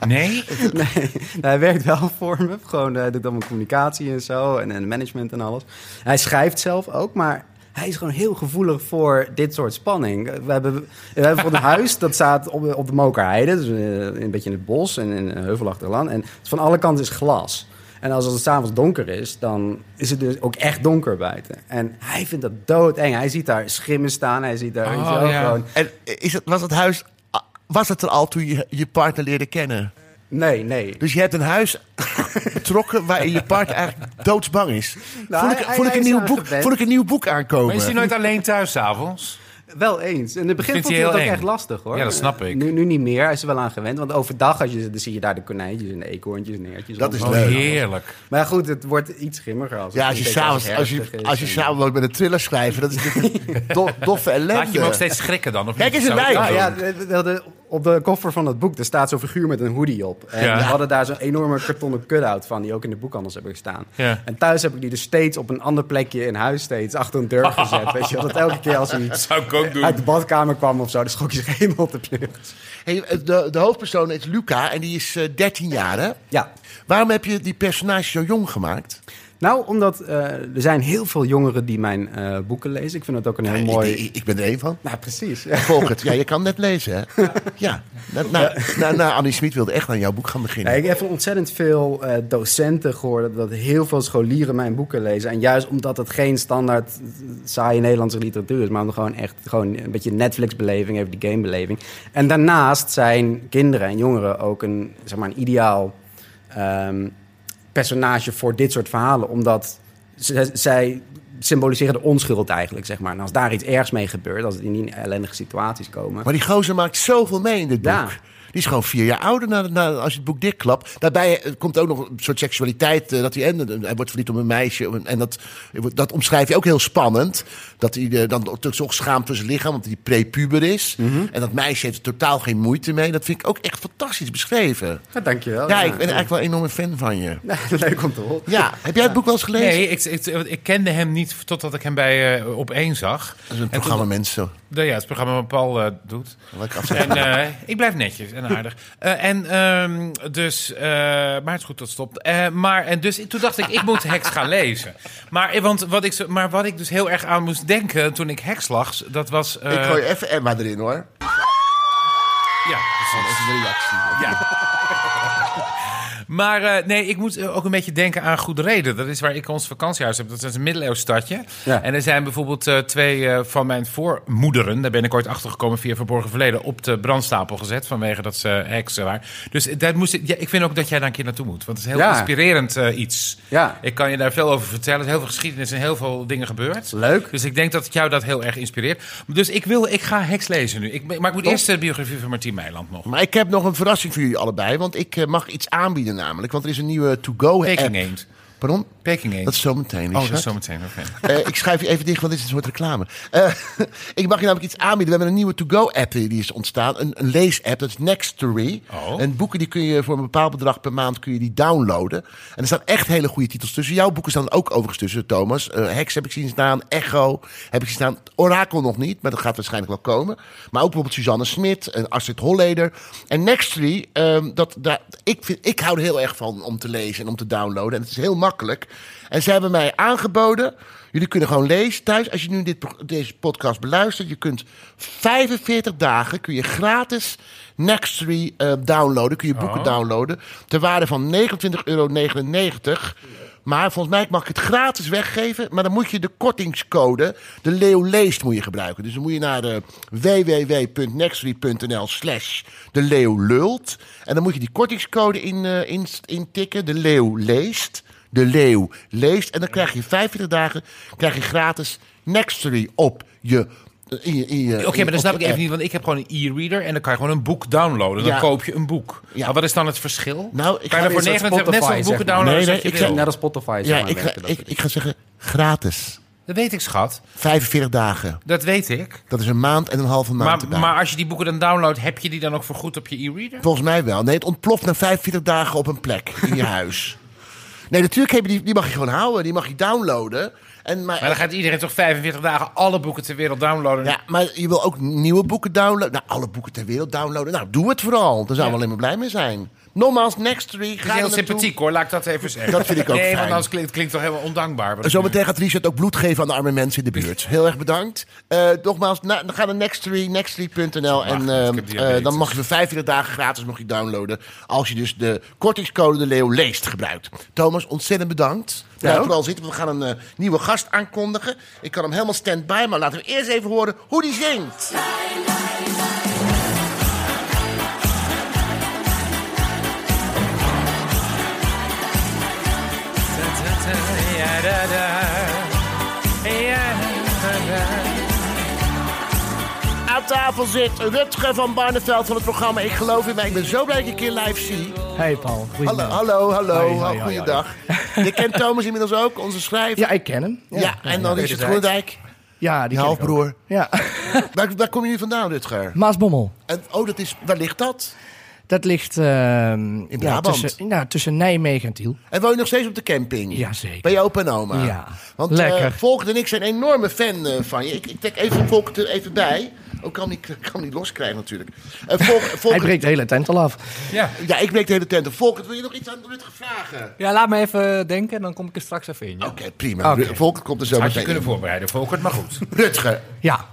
S5: Nee?
S12: nee, nou, hij werkt wel voor me. Gewoon, eh, hij doet allemaal communicatie en zo. En, en management en alles. Hij schrijft zelf ook, maar hij is gewoon heel gevoelig voor dit soort spanning. We hebben, we hebben voor een huis, dat staat op, op de Mokerheide. Dus eh, een beetje in het bos en in een heuvelachtig land. En van alle kanten is glas. En als het s'avonds donker is, dan is het dus ook echt donker buiten. En hij vindt dat doodeng. Hij ziet daar schimmen staan. Hij ziet daar weet
S1: Oh,
S12: je wel, gewoon
S1: En eh, is het, was het huis, ah, was het er al toen je je partner leerde kennen?
S12: Nee, nee.
S1: Dus je hebt een huis betrokken waarin je partner eigenlijk doodsbang is.
S12: Nou,
S1: vond, ik,
S12: hij-
S1: vond, ik
S12: hij
S1: een
S12: is
S1: nieuw boek,
S12: aangewend.
S1: vond ik een nieuw boek aankomen.
S5: Maar is hij nooit alleen thuis s'avonds?
S12: Wel eens. In het begin
S5: Vindt
S12: vond hij
S5: hij
S12: dat ook
S5: heel eng?
S12: echt lastig hoor.
S5: Ja, dat snap ik.
S12: Nu, nu niet meer. Hij is er wel aan gewend. Want overdag als je, dan zie je daar de konijntjes en de eekhoorntjes en de eertjes.
S1: Dat is
S12: allemaal.
S1: leuk.
S5: Heerlijk.
S12: Maar goed, het wordt iets schimmiger als het
S1: ja, als je,
S12: een beetje
S1: s'avonds, als je,
S12: herfstig is
S1: als je
S12: en-
S1: samen woont met een thriller schrijver, dat is natuurlijk do, doffe ellende.
S5: Laat je hem ook steeds schrikken dan? Of
S1: Kijk
S5: niet?
S1: eens
S5: Zou
S1: erbij.
S5: ik dat
S12: Ah,
S5: doen?
S12: ja, de- de- de- op de koffer van het boek er staat zo'n figuur met een hoodie op. En
S5: Ja.
S12: we hadden daar zo'n enorme kartonnen cut-out van, die ook in de boekhandels hebben gestaan.
S5: Ja.
S12: En thuis heb ik die dus steeds op een ander plekje in huis, steeds achter een deur gezet. weet je, wel. dat elke keer als hij
S5: Dat zou ik ook doen.
S12: uit de badkamer kwam of zo, dan schrok je zich helemaal te pleuris.
S1: Hey, eh, de, de hoofdpersoon is Luca en die is eh, 13 jaar. Hè?
S12: Ja,
S1: Waarom heb je die personage zo jong gemaakt?
S12: Nou, omdat eh, er zijn heel veel jongeren die mijn eh, boeken lezen. Ik vind dat ook een heel
S1: Ik-
S12: mooi...
S1: Ik, ik, ben er één van.
S12: Nou, precies.
S1: Volg het. Ja, je kan net lezen, hè? Ja. Na, na, na, na- Annie Smit wilde echt aan jouw boek gaan beginnen.
S12: Nee, ik heb van ontzettend veel eh, docenten gehoord dat heel veel scholieren mijn boeken lezen. En juist omdat het geen standaard eh, saaie Nederlandse literatuur is, maar omdat gewoon echt gewoon een beetje Netflix-beleving heeft, die gamebeleving. En daarnaast zijn kinderen en jongeren ook een, zeg maar een ideaal ehm, personage voor dit soort verhalen, omdat ze- zij symboliseren de onschuld eigenlijk, zeg maar. En als daar iets ergs mee gebeurt, als het in die ellendige situaties komen...
S1: Maar die gozer maakt zoveel mee in dit boek.
S12: Ja.
S1: Die is gewoon vier jaar ouder na, na- als je het boek dichtklapt. Daarbij eh, komt ook nog een soort seksualiteit. eh, dat hij, en, eh, hij wordt verliefd op een meisje. En dat, dat omschrijf je ook heel spannend. Dat hij eh, dan toch schaamt voor zijn lichaam, want hij prepuber is.
S12: Mhm.
S1: En dat meisje heeft er totaal geen moeite mee. Dat vind ik ook echt fantastisch beschreven.
S12: Ja, dankjewel.
S1: ja, ik ben eigenlijk wel een enorme fan van je.
S12: Leuk om te horen.
S1: eh, Ja, heb jij het boek wel eens gelezen?
S5: Nee, ik, ik, ik kende hem niet totdat ik hem bij eh op één zag.
S1: Dat is een
S5: En
S1: programma
S5: toen-
S1: mensen.
S5: Nou ja, het programma wat Paul eh, doet.
S1: Leuk
S5: En
S1: afzetten.
S5: eh, ik blijf netjes. En en aardig. Eh, en ehm, dus, eh, maar het is goed dat het stopt. Eh, maar en dus, toen dacht ik, ik moet Heks gaan lezen. Maar, eh, want wat ik, zo- maar wat ik dus heel erg aan moest denken toen ik Heks lag, dat was. eh,
S1: Ik gooi even Emma erin hoor. Oh,
S5: Ja,
S1: Dat is een reactie.
S5: Ja. Maar eh, nee, ik moet eh, ook een beetje denken aan Goede Reden. Dat is waar ik ons vakantiehuis heb. Dat is een middeleeuws stadje.
S1: Ja.
S5: En er zijn bijvoorbeeld eh, twee eh, van mijn voormoederen... daar ben ik ooit achtergekomen via Verborgen Verleden... op de brandstapel gezet vanwege dat ze heksen waren. Dus eh, daar moest ik, ja, ik vind ook dat jij daar een keer naartoe moet. Want het is heel
S1: Ja.
S5: inspirerend eh, iets.
S1: Ja.
S5: Ik kan je daar veel over vertellen. Er is heel veel geschiedenis en heel veel dingen gebeurd.
S1: Leuk.
S5: Dus ik denk dat het jou dat heel erg inspireert. Dus ik, wil, ik ga heks lezen nu. Ik, maar ik moet
S1: Top.
S5: eerst de biografie van Martien Meiland nog.
S1: Maar ik heb nog een verrassing voor jullie allebei. Want ik eh, mag iets aanbieden namelijk. Want er is een nieuwe to-go app.
S5: Peking Eend.
S1: Pardon?
S5: Peking Eend.
S1: Dat is zometeen.
S5: Oh, dat
S1: Richard.
S5: is zometeen, oké.
S1: Eh, ik schuif je even dicht, want dit is een soort reclame. Eh, ik mag je namelijk iets aanbieden. We hebben een nieuwe to-go-app die die is ontstaan. Een, een lees-app, dat is Nextory. En boeken die kun je voor een bepaald bedrag per maand kun je die downloaden. En er staan echt hele goede titels tussen. Jouw boeken staan er ook overigens tussen, Thomas. Eh Hex heb ik zien staan, Echo heb ik zien staan. Orakel nog niet, maar dat gaat waarschijnlijk wel komen. Maar ook bijvoorbeeld Suzanne Smit en Astrid Holleder. En Nextory, ehm, dat, daar, ik, vind, ik hou er heel erg van om te lezen en om te downloaden. En het is heel makkelijk. En ze hebben mij aangeboden... Jullie kunnen gewoon lezen thuis. Als je nu dit, pro- deze podcast beluistert, je kunt 45 dagen kun je gratis Nextory eh, downloaden. Kun je boeken
S5: Oh.
S1: downloaden. Ter waarde van 29,99 euro. Maar volgens mij mag ik het gratis weggeven. Maar dan moet je de kortingscode, de Leo Leest, moet je gebruiken. Dus dan moet je naar de www.nextory.nl slash de Leeuw Lult. En dan moet je die kortingscode in, eh, in, intikken, de Leeuw Leest. De Leeuw leest. En dan krijg je 45 dagen krijg je gratis Nextory op je. eh, in je- in je-
S5: Oké, maar
S1: op
S5: dat snap
S1: je
S5: ik even
S1: app.
S5: niet, want ik heb gewoon een e-reader en dan kan je gewoon een boek downloaden. Dan
S1: Ja.
S5: koop je een boek. Maar wat is dan het verschil?
S1: Nou, ik
S5: kan je
S1: ga
S5: er voor
S1: eerst wat
S5: 29 net zoveel
S1: Spotify, zeg
S5: boeken
S1: maar.
S5: downloaden
S1: Nee, nee,
S5: als je
S1: ik
S5: wil.
S1: zeg-
S12: Net als Spotify. zeg
S1: Ja,
S12: maar,
S1: ik ga,
S12: werken dat
S1: ik, ik ga zeggen gratis.
S5: Dat weet ik, schat.
S1: 45 dagen.
S5: Dat weet ik.
S1: Dat is een maand en een halve maand.
S5: Maar,
S1: erbij.
S5: maar als je die boeken dan downloadt, heb je die dan ook voorgoed op je e-reader?
S1: Volgens mij wel. Nee, het ontploft na 45 dagen op een plek in je huis. Nee, natuurlijk heb je die, die mag je gewoon houden. Die mag je downloaden. En, maar,
S5: Maar dan gaat iedereen toch 45 dagen alle boeken ter wereld downloaden?
S1: Ja, maar je wil ook nieuwe boeken downloaden. Nou, alle boeken ter wereld downloaden. Nou, doe het vooral. Daar zou we alleen maar blij mee zijn. Nogmaals, Nextory.
S5: Het is
S1: Ga
S5: heel
S1: er naartoe.
S5: sympathiek hoor, laat ik dat even zeggen.
S1: Dat vind ik ook
S5: Nee, want
S1: fijn.
S5: anders klinkt het klinkt toch helemaal ondankbaar. wat ik nu-
S1: Zometeen gaat Richard ook bloed geven aan de arme mensen in de buurt. Heel erg bedankt. Eh, nogmaals, na, ga naar Nextory, nextory.nl. En
S5: niet, ik
S1: ehm,
S5: heb diabetes.
S1: eh, dan mag je voor 45 dagen gratis mag je downloaden. Als je dus de kortingscode de Leeuw leest gebruikt. Thomas, ontzettend bedankt. Blijf
S5: Ja.
S1: vooral zitten, want we gaan een eh, nieuwe gast aankondigen. Ik kan hem helemaal stand-by, maar laten we eerst even horen hoe die zingt. Aan tafel zit Rutger van Barneveld van het programma Ik Geloof in Mij. Ik ben zo blij dat ik je een keer live zie.
S13: Hey Paul,
S1: Hallo,
S13: goedemiddag.
S1: hallo, hallo.
S13: Hoi, hoi, hoi,
S1: Goeiedag. Je kent Thomas inmiddels ook, onze schrijver.
S13: Ja, ik ken hem.
S1: Ja,
S13: Ja,
S1: en dan
S13: ja,
S1: Richard
S13: ja.
S1: Groenendijk.
S13: Ja, die
S1: Je halfbroer.
S13: Ja.
S1: Waar, waar kom je nu vandaan, Rutger?
S13: Maasbommel.
S1: En, oh, dat is, waar ligt dat?
S13: Dat ligt ehm, ja,
S1: Brabant.
S13: tussen, nou, tussen Nijmegen en Tiel.
S1: En woon je nog steeds op de camping?
S13: Jazeker.
S1: Bij je opa en oma?
S13: Ja,
S1: Want
S13: lekker.
S1: eh, Volkert en ik zijn een enorme fan eh, van je. Ik, ik trek even Volkert er even bij. Ook kan niet, kan niet loskrijgen natuurlijk. Eh, Volk-
S13: Hij
S1: Volkert-
S13: breekt de hele tent al af.
S5: Ja.
S1: ja, ik breek de hele tent. Volkert, wil je nog iets aan Rutger vragen?
S14: Ja, laat me even denken en dan kom ik er straks even in. ja?
S1: Oké, prima.
S14: Oké.
S1: Ru- Volkert komt er zo
S5: Had je
S1: meteen
S5: kunnen
S1: in.
S5: voorbereiden, Volkert, maar goed.
S1: Rutger.
S13: Ja.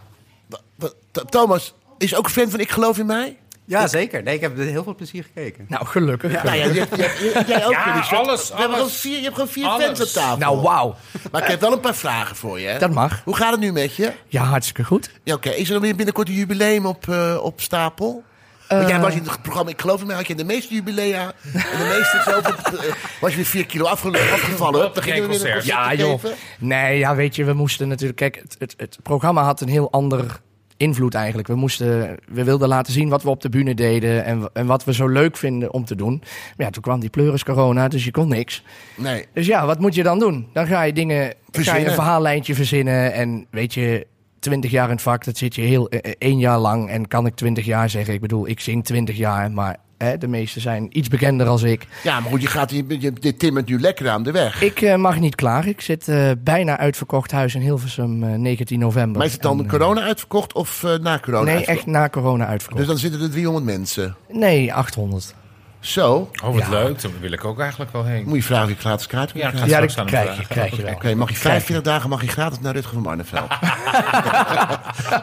S1: Thomas is ook fan van Ik Geloof in Mij?
S12: Ja, zeker. Nee, ik heb er heel veel plezier gekeken.
S13: Nou, gelukkig.
S1: Nou ja, je, hebt- je, hebt- je- jij ook.
S5: Ja,
S1: Richard.
S5: alles,
S1: We hebben
S5: alles.
S1: gewoon vier, je hebt gewoon vier
S5: Alles.
S1: fans op tafel.
S13: Nou, wauw.
S1: Maar ik heb wel een paar vragen voor je. hè?
S13: Dat mag.
S1: Hoe gaat het nu met je?
S13: Ja, hartstikke goed.
S1: Ja, oké. Is er dan weer binnenkort een jubileum op, eh, op stapel? Want
S13: Eh.
S1: jij was in het programma, ik geloof in mij, had je de meeste jubilea. En de meeste zoveel, eh, was je weer 4 kilo afge- afgevallen. Dan gingen we weer een concert
S13: Ja, joh.
S1: geven.
S13: Nee, ja, weet je, we moesten natuurlijk... Kijk, het, het, het programma had een heel ander invloed eigenlijk. We, moesten, we wilden laten zien wat we op de bühne deden... En, w- en wat we zo leuk vinden om te doen. Maar ja, toen kwam die pleuris corona, dus je kon niks.
S1: Nee.
S13: Dus ja, wat moet je dan doen? Dan ga je dingen, ga je
S1: Verzinnen.
S13: een verhaallijntje verzinnen. En weet je, twintig jaar in het vak, dat zit je heel eh, eh, één jaar lang. En kan ik twintig jaar zeggen? Ik bedoel, ik zing twintig jaar, maar hè, de meesten zijn iets bekender als ik.
S1: Ja, maar goed, je, gaat, je, je, dit timmert nu lekker aan de weg.
S13: Ik eh, mag niet klagen. Ik zit eh, bijna uitverkocht huis in Hilversum eh, 19 november.
S1: Maar is het dan
S13: En, eh,
S1: corona uitverkocht of eh, na corona
S13: Nee,
S1: uitverkocht?
S13: echt na corona uitverkocht.
S1: Dus dan zitten er 300 mensen.
S13: Nee, 800.
S1: Zo.
S5: Oh, wat leuk. Daar wil ik ook eigenlijk wel heen.
S1: Moet je vragen of je gratis kaart
S5: Ja, ik ga
S1: krijgt?
S5: straks aan hem vragen.
S1: Oké,
S5: Oké,
S1: mag je
S5: vijf-
S1: 45 dagen mag je gratis naar Rutger van Barneveld.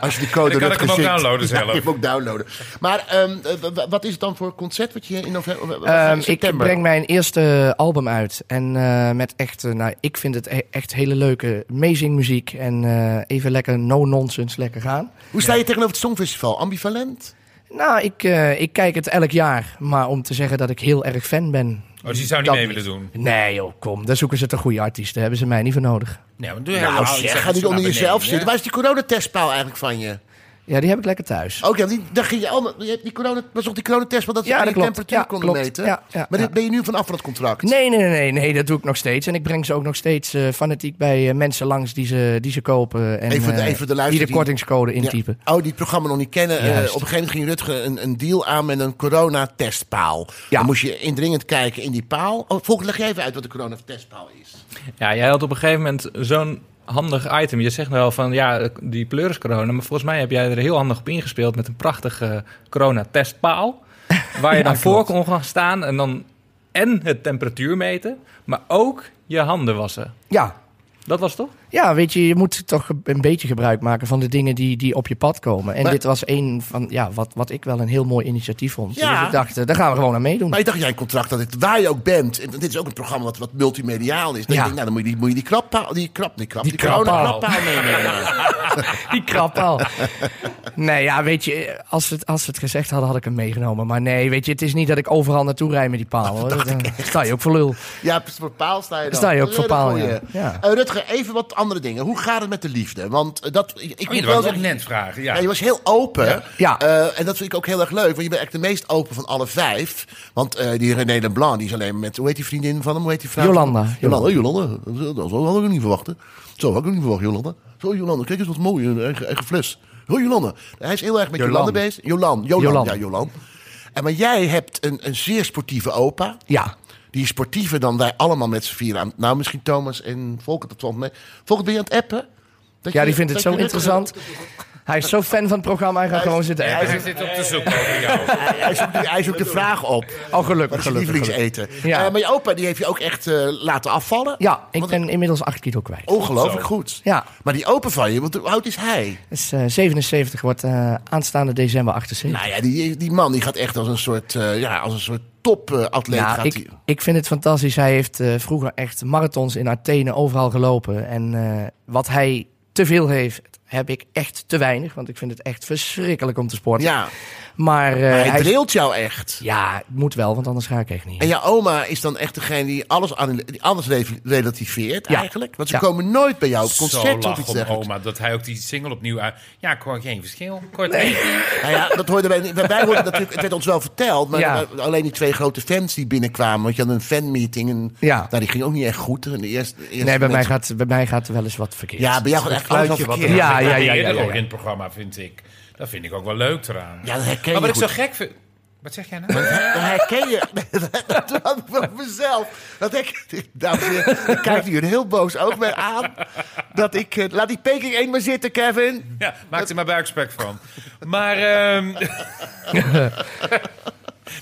S1: Als je die
S5: Dan
S1: code
S5: kan
S1: hebt
S5: ik hem ook
S1: gezinkt.
S5: downloaden
S1: Ja,
S5: zelf.
S1: je hebt hem ook downloaden. Maar ehm, eh, w- w- wat is het dan voor concert wat je in november, of, eh,
S13: Ehm, ik
S1: september...
S13: breng mijn eerste album uit. En eh, met echt, eh, nou, ik vind het e- echt hele leuke, amazing muziek. En eh, even lekker no-nonsense lekker gaan.
S1: Hoe sta je tegenover het Songfestival? Ambivalent?
S13: Nou, ik, eh, ik kijk het elk jaar. Maar om te zeggen dat ik heel erg fan ben.
S5: Oh, dus die zou niet mee willen doen.
S13: Nee joh, kom. Daar zoeken ze toch goede artiesten. Daar hebben ze mij niet voor nodig.
S5: Nee, maar
S1: Nou, zeg, ga niet onder jezelf zitten. Waar is die coronatestpaal eigenlijk van je?
S13: Ja, die heb ik lekker thuis.
S1: Ook ja, die, daar ging je allemaal... Je hebt die corona, was toch die coronatest, want dat ze
S13: Ja,
S1: aan
S13: dat
S1: je
S13: klopt.
S1: temperatuur
S13: Ja,
S1: konden
S13: klopt.
S1: meten?
S13: Ja, ja,
S1: maar dit
S13: ja.
S1: ben je nu vanaf van het contract?
S13: Nee, nee, nee, nee, nee, dat doe ik nog steeds. En ik breng ze ook nog steeds eh, fanatiek bij eh, mensen langs die ze, die ze kopen. En,
S1: even,
S13: eh,
S1: even de luister
S13: die de kortingscode
S1: Ja.
S13: intypen.
S1: Oh, die het programma nog niet kennen. Eh,
S13: Juist.
S1: op een gegeven moment ging Rutger een, een deal aan met een coronatestpaal. Dan moest je indringend kijken in die paal. Oh, volgens leg jij even uit wat de coronatestpaal is.
S13: Hm.
S14: Ja, jij had op een gegeven moment zo'n handig item. Je zegt wel van ja, die pleuris corona. Maar volgens mij heb jij er heel handig op ingespeeld met een prachtige corona-testpaal. Waar je
S13: Ja,
S14: dan voor
S13: klopt.
S14: kon gaan staan en dan en het temperatuur meten, maar ook je handen wassen.
S13: Ja.
S14: Dat was het toch?
S13: Ja, weet je, je moet toch een beetje gebruik maken van de dingen die, die op je pad komen. En
S1: Maar-
S13: dit was een van, ja, wat, wat ik wel een heel mooi initiatief vond.
S1: Ja.
S13: Dus ik dacht, eh, daar gaan we gewoon aan meedoen.
S1: Maar ik dacht, jij een contract dat dit, waar je ook bent. En dit is ook een programma wat, wat multimediaal is. Dan
S13: Ja.
S1: denk ik, nou, dan moet je die, moet je die krappaal, die krap, die krap, die,
S13: krappaal.
S1: corona-krappaal nemen. Ja.
S13: Die krap al. Nee, ja, weet je, eh, als ze het, als ze het gezegd hadden, had ik hem meegenomen. Maar nee, weet je, het is niet dat ik overal naartoe rijd met die paal. Hoor. Dan sta je ook voor lul.
S1: Ja, voor paal sta je dan.
S13: Sta je ook
S1: Dat is een
S13: voor
S1: hele
S13: paal,
S1: goeie.
S13: ja. Ja.
S1: Eh, Rutger, even wat andere dingen. Hoe gaat het met de liefde? Want eh, dat... Ik, ik
S5: Oh,
S1: moet
S5: je wou
S1: wel
S5: het ook
S1: zeggen-
S5: net vragen. Ja.
S1: Ja, je was heel open.
S5: Ja.
S1: Eh, en dat vind ik ook heel erg leuk. Want je bent echt de meest open van alle vijf. Want eh, die René Leblanc, die is alleen maar met... Hoe heet die vriendin van hem? Hoe heet die vrouw?
S13: Jolanda.
S1: Jolanda, Jolanda. Dat zou- had ik ook niet verwachten. Zo had ik ook niet verwacht, Jolanda. Zo, Jolanda. Kijk eens wat mooi. Een eigen, eigen fles. Ho, Jolanda. Hij is heel erg met
S13: Jolan.
S1: Jolanda bezig. Jolan. Jolan.
S13: Jolan.
S1: Ja, Jolan. En maar jij hebt een, een zeer sportieve opa.
S13: Ja.
S1: Die is sportiever dan wij allemaal met z'n vier aan. Nou, misschien Thomas en Volker. Dat valt mee. Volker, ben je aan het appen? Dat
S13: Ja,
S1: je-
S13: die vindt het
S1: dat
S13: zo
S1: je net-
S13: interessant. Hij is zo fan van het programma, hij gaat gewoon zitten.
S1: hij
S5: Hij zit op te zoeken over jou.
S1: Hij- hij, zoekt, hij zoekt de vraag op.
S13: Oh,
S1: Wat
S13: gelukkig,
S1: is je
S13: gelukkig. gelukkig.
S1: lievelingseten? Eh, maar je opa die heeft je ook echt eh, laten afvallen.
S13: Ja, ik ben inmiddels 8 kilo kwijt.
S1: Ongelooflijk goed.
S13: Ja.
S1: Maar die opa van je, want hoe oud is hij?
S13: Dus, eh, 77 wordt eh, aanstaande december 78.
S1: Nou ja, die, die man die gaat echt als een soort, eh, ja, als een soort topatleet.
S13: Ja,
S1: gaat
S13: ik,
S1: die-
S13: ik vind het fantastisch. Hij heeft eh, vroeger echt marathons in Athene overal gelopen. En eh, wat hij te veel heeft, heb ik echt te weinig. Want ik vind het echt verschrikkelijk om te sporten.
S1: ja.
S13: Maar, eh,
S1: Maar hij
S13: hij-
S1: drilt jou echt.
S13: Ja, het moet wel, want anders ga ik echt niet.
S1: En je oma is dan echt degene die alles, aan, die alles re- relativeert
S13: Ja.
S1: eigenlijk. Want ze
S13: Ja.
S1: komen nooit bij jou op
S5: Zo
S1: concert of
S5: lach
S1: iets
S5: om
S1: dergelijks.
S5: oma dat hij ook die single opnieuw uit... Ja, ik hoor geen verschil. Kort
S1: Nou ja, dat hoorden wij, niet. wij wij hoorden natuurlijk, het werd ons wel verteld, maar
S13: Ja.
S1: maar alleen die twee grote fans die binnenkwamen. Want je had een fanmeeting en
S13: Ja.
S1: nou, die ging ook niet echt goed. En de eerste, de eerste
S13: nee, bij mij,
S1: mensen-
S13: gaat, bij mij gaat wel eens wat verkeerd.
S1: Ja, bij jou gaat echt alles wel verkeerd.
S13: Ja, ja,
S5: ja,
S13: ja, ja, ja, ja.
S5: in het programma, vind ik. Dat vind ik ook wel leuk eraan. Oh,
S1: Ja, dat herken
S5: maar wat
S1: je
S5: ik zo
S1: goed.
S5: gek vind... Wat zeg jij nou?
S1: Dat herken je. Dat had ik van mezelf. Dat ik, dames en heren, ik kijk hier een heel boos oog mee aan. Dat ik, eh, laat die Peking 1 maar zitten, Kevin.
S5: Ja, maak er maar buikspek van. Maar... ehm,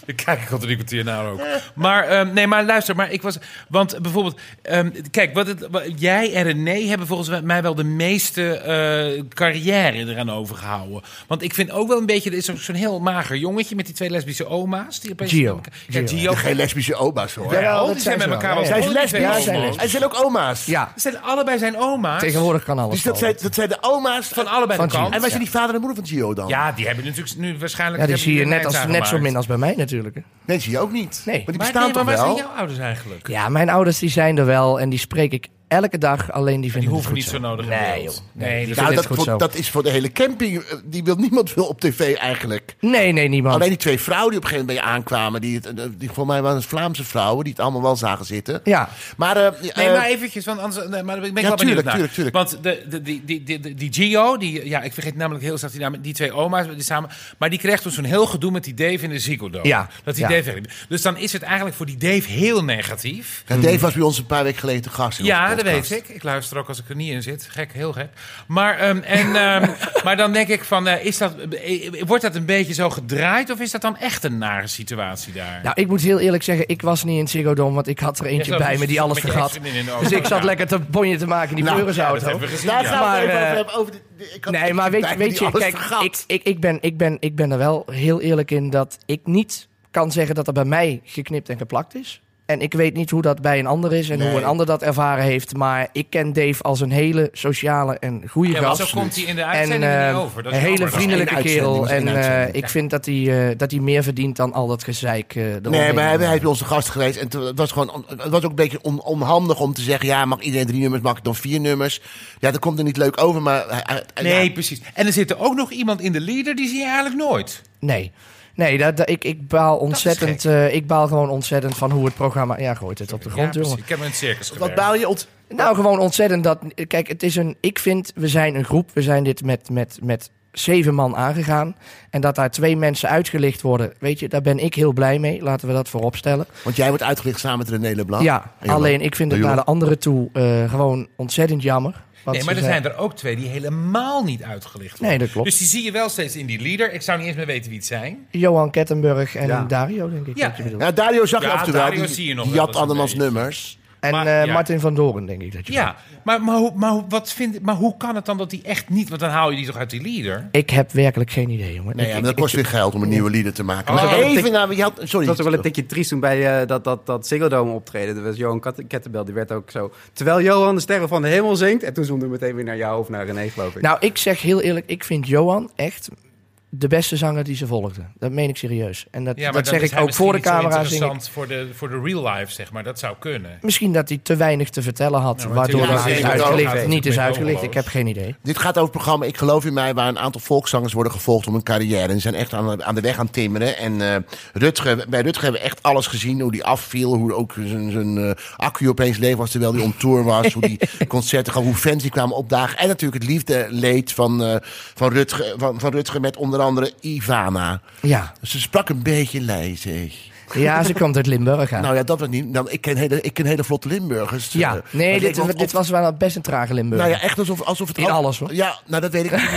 S5: Dan kijk ik altijd een kwartier naar ook. Maar, ehm, nee, maar luister, maar ik was... Want bijvoorbeeld... ehm, kijk, wat het, wat- jij en René hebben volgens mij wel de meeste eh, carrière eraan overgehouden. Want ik vind ook wel een beetje... Er is ook zo'n heel mager jongetje met die twee lesbische oma's. Die opeens
S13: Gio.
S5: Ja,
S13: Gio.
S5: Gio.
S1: Geen lesbische oma's hoor.
S5: Ja,
S13: Jawel,
S5: oh,
S13: dat
S5: die
S13: zijn
S5: zijn
S13: ze
S5: met
S13: wel.
S5: elkaar
S13: Ja,
S5: wel
S13: ja.
S1: Zij is
S5: Oh, die twee
S1: lesbisch.
S13: Ja, zij
S5: homo's.
S13: is
S1: En ze zijn ook oma's.
S13: Ja,
S5: Ze zijn allebei zijn oma's.
S13: tegenwoordig kan alles.
S1: Dus dat
S13: wel.
S1: zijn, dat zijn de oma's
S5: Van allebei
S13: Van
S5: de kant.
S1: En wij zijn
S5: ja.
S1: die vader en moeder van Gio dan?
S5: Ja, die hebben natuurlijk nu waarschijnlijk...
S13: ja, die
S5: hebben
S13: zie je
S5: een
S13: net, als,
S5: eind
S13: net zo
S5: aangemaakt.
S13: min als bij mij natuurlijk.
S1: Nee, zie je ook niet.
S13: Nee.
S1: Maar die
S5: Maar,
S1: bestaan toch
S5: nee, maar waar zijn
S1: wel?
S5: jouw ouders eigenlijk?
S13: Ja, mijn ouders die zijn er wel en die spreek ik elke dag, alleen die vinden
S5: Die
S13: het goed
S5: hoeven niet zo nodig.
S13: Nee,
S5: joh.
S13: joh.
S5: Nee,
S13: die
S5: dat-
S1: dat,
S13: vinden het goed
S1: voor-
S13: zo.
S1: dat is voor de hele camping. eh, Die wil niemand wil op tv eigenlijk.
S13: Nee, nee, niemand.
S1: Alleen die twee vrouwen die op een gegeven moment aankwamen. Die, het- eh, die voor mij waren het Vlaamse vrouwen. Die het allemaal wel zagen zitten.
S13: Ja.
S1: Maar, eh,
S5: Nee,
S1: eh,
S5: maar eventjes, want anders nee, maar daar ben ik
S1: Ja,
S5: wel benieuwd
S1: tuurlijk,
S5: naar.
S1: tuurlijk, tuurlijk.
S5: Want de, de, die, die, die, die- die Gio, die, ja, ik vergeet namelijk heel snel die naam, die twee oma's die samen, maar die kreeg toen zo'n heel gedoe met die Dave in de ziekendood.
S1: Ja,
S5: Dat die
S1: ja.
S5: Dave weg- Dus dan is het eigenlijk voor die Dave heel negatief.
S1: ja, Dave was bij ons een paar weken geleden te gast. in
S5: Ja,
S1: onze
S5: dat
S1: podcast.
S5: weet ik. Ik luister ook als ik er niet in zit. Gek, heel gek. Maar, ehm, en, ehm, maar dan denk ik van, eh, is dat, eh, wordt dat een beetje zo gedraaid of is dat dan echt een nare situatie daar?
S13: Nou, ik moet heel eerlijk zeggen, ik was niet in Ziggo Dome, want ik had er eentje
S5: zat
S13: bij
S5: dus met-
S13: me die alles
S5: met je
S13: vergat.
S5: ex-vriendin in de auto.
S13: Dus ik zat
S5: Ja.
S13: lekker te bonje te maken in die
S5: Nou,
S13: pleurisauto.
S5: ja, dat hebben we gezien,
S1: Daar
S5: ja.
S1: gaan we het
S13: Maar,
S1: even over
S13: eh,
S1: hebben, over die- die- ik had-
S13: Nee, maar weet,
S1: die
S13: weet je,
S1: alles
S13: kijk,
S1: vergat.
S13: ik, ik, ik, ben, ik, ben, ik ben er wel heel eerlijk in dat ik niet kan zeggen dat er bij mij geknipt en geplakt is. En ik weet niet hoe dat bij een ander is en
S5: Nee.
S13: hoe een ander dat ervaren heeft. Maar ik ken Dave als een hele sociale en goede
S5: Ja, want
S13: gast.
S5: zo komt hij in de
S13: En
S5: uitzendingen
S13: eh,
S5: niet over. Dat
S13: een
S5: is
S13: hele
S5: jammer.
S13: vriendelijke
S5: Dat is één
S13: kerel. En
S5: uitzending, dat is één
S13: eh,
S5: uitzending.
S13: ik vind dat hij, eh, dat hij meer verdient dan al dat gezeik. eh,
S1: Nee,
S13: eromheen.
S1: maar hij, hij is bij onze gast geweest. En toen- het was, gewoon, on- het was ook een beetje on- onhandig om te zeggen... ja, mag iedereen drie nummers, mag ik dan vier nummers? Ja, dat komt er niet leuk over, maar... hij- hij- hij-
S5: Nee,
S1: ja.
S5: precies. En er zit er ook nog iemand in de leader, die zie je eigenlijk nooit.
S13: Nee. Nee, dat, dat- ik, ik baal ontzettend. eh, ik baal gewoon ontzettend van hoe het programma. Ja, gooit het op de grond, jongen.
S5: Ik heb in het circus
S1: Wat baal je ont...
S13: Nou, gewoon ontzettend dat. Kijk, het is een. Ik vind, we zijn een groep. We zijn dit met, met, met zeven man aangegaan. En dat daar twee mensen uitgelicht worden. Weet je, daar ben ik heel blij mee. Laten we dat voorop stellen.
S1: Want jij wordt uitgelicht samen met René Leblanc.
S13: Ja,
S1: En Jolan.
S13: alleen ik vind het
S1: En
S13: naar de
S1: Jolan.
S13: anderen toe eh, gewoon ontzettend jammer. wat
S5: nee,
S13: ze
S5: maar er
S13: zei.
S5: zijn er ook twee die helemaal niet uitgelicht worden.
S13: Nee, dat klopt.
S5: Dus die zie je wel steeds in die leader. Ik zou niet eens meer weten wie het zijn.
S13: Johan Kettenburg en
S5: Ja.
S13: Dario, denk ik.
S5: Ja.
S13: dat je bedoelt.
S1: Ja, Dario zag je
S5: Ja,
S1: af en toe wel.
S5: Dario
S1: Die,
S5: zie je nog
S1: die
S5: wel
S1: had
S5: eens een
S1: andermans nummers.
S13: En
S5: Maar-
S13: eh,
S5: ja.
S13: Martin van Doren, denk ik. Dat je
S5: Ja, maar, maar, hoe, maar, hoe- wat vind, maar hoe kan het dan dat die echt niet... Want dan haal je die toch uit die leader?
S13: Ik heb werkelijk geen idee, jongen.
S1: Nee,
S13: Ik-
S1: ja,
S13: ik-
S1: maar dat kost weer geld om een nieuwe lieder te maken.
S13: Oh.
S1: Maar
S13: Dat is ook
S1: even
S13: een
S1: naar... Je had, sorry.
S12: Het was ook wel een tikje triest toen bij eh, dat, dat, dat Ziggo Dome optreden. Dat was Johan Kat- Kettenbel, die werd ook zo... Terwijl Johan de Sterren van de Hemel zingt... en toen zoomde we meteen weer naar jou of naar René, geloof ik.
S13: Nou, ik zeg heel eerlijk, ik vind Johan echt de beste zanger die ze volgde. Dat meen ik serieus. En dat,
S5: Ja, maar
S13: dat
S5: dan
S13: zeg
S5: is
S13: ik
S5: hij
S13: ook
S5: misschien
S13: voor de
S5: niet zo
S13: camera. Zing ik.
S5: interessant voor de, voor de real life, zeg maar. Dat zou kunnen.
S13: Misschien dat hij te weinig te vertellen had,
S5: Nou, maar
S13: waardoor
S5: natuurlijk
S13: dat hij
S5: is
S13: is
S5: het ook
S13: uitgelicht,
S5: altijd
S13: niet is
S5: met
S13: uitgelicht.
S5: homo's.
S13: Ik heb geen idee.
S1: Dit gaat over het programma Ik geloof in mij, waar een aantal volkszangers worden gevolgd om een carrière. En die zijn echt aan, aan de weg aan het timmeren. En eh, Rutger, bij Rutger hebben we echt alles gezien, hoe die afviel, hoe ook zijn- zijn eh, accu opeens leeg was terwijl hij on tour was, hoe die concerten gaan, hoe fans die kwamen opdagen. En natuurlijk het liefdeleed van, eh, van, Rutger, van, van Rutger met onder andere Ivana.
S13: Ja.
S1: Ze sprak een beetje lijzig.
S13: Ja, ze komt uit Limburg aan.
S1: Nou ja, dat was niet. Nou, ik, ken hele, ik ken hele vlotte Limburgers. Eh,
S13: ja,
S1: maar
S13: nee,
S1: het leek
S13: dit,
S1: wel
S13: dit was wel best een trage Limburg.
S1: Nou ja, echt alsof, alsof het...
S13: In alles, hoor.
S1: Ja, nou dat weet ik niet.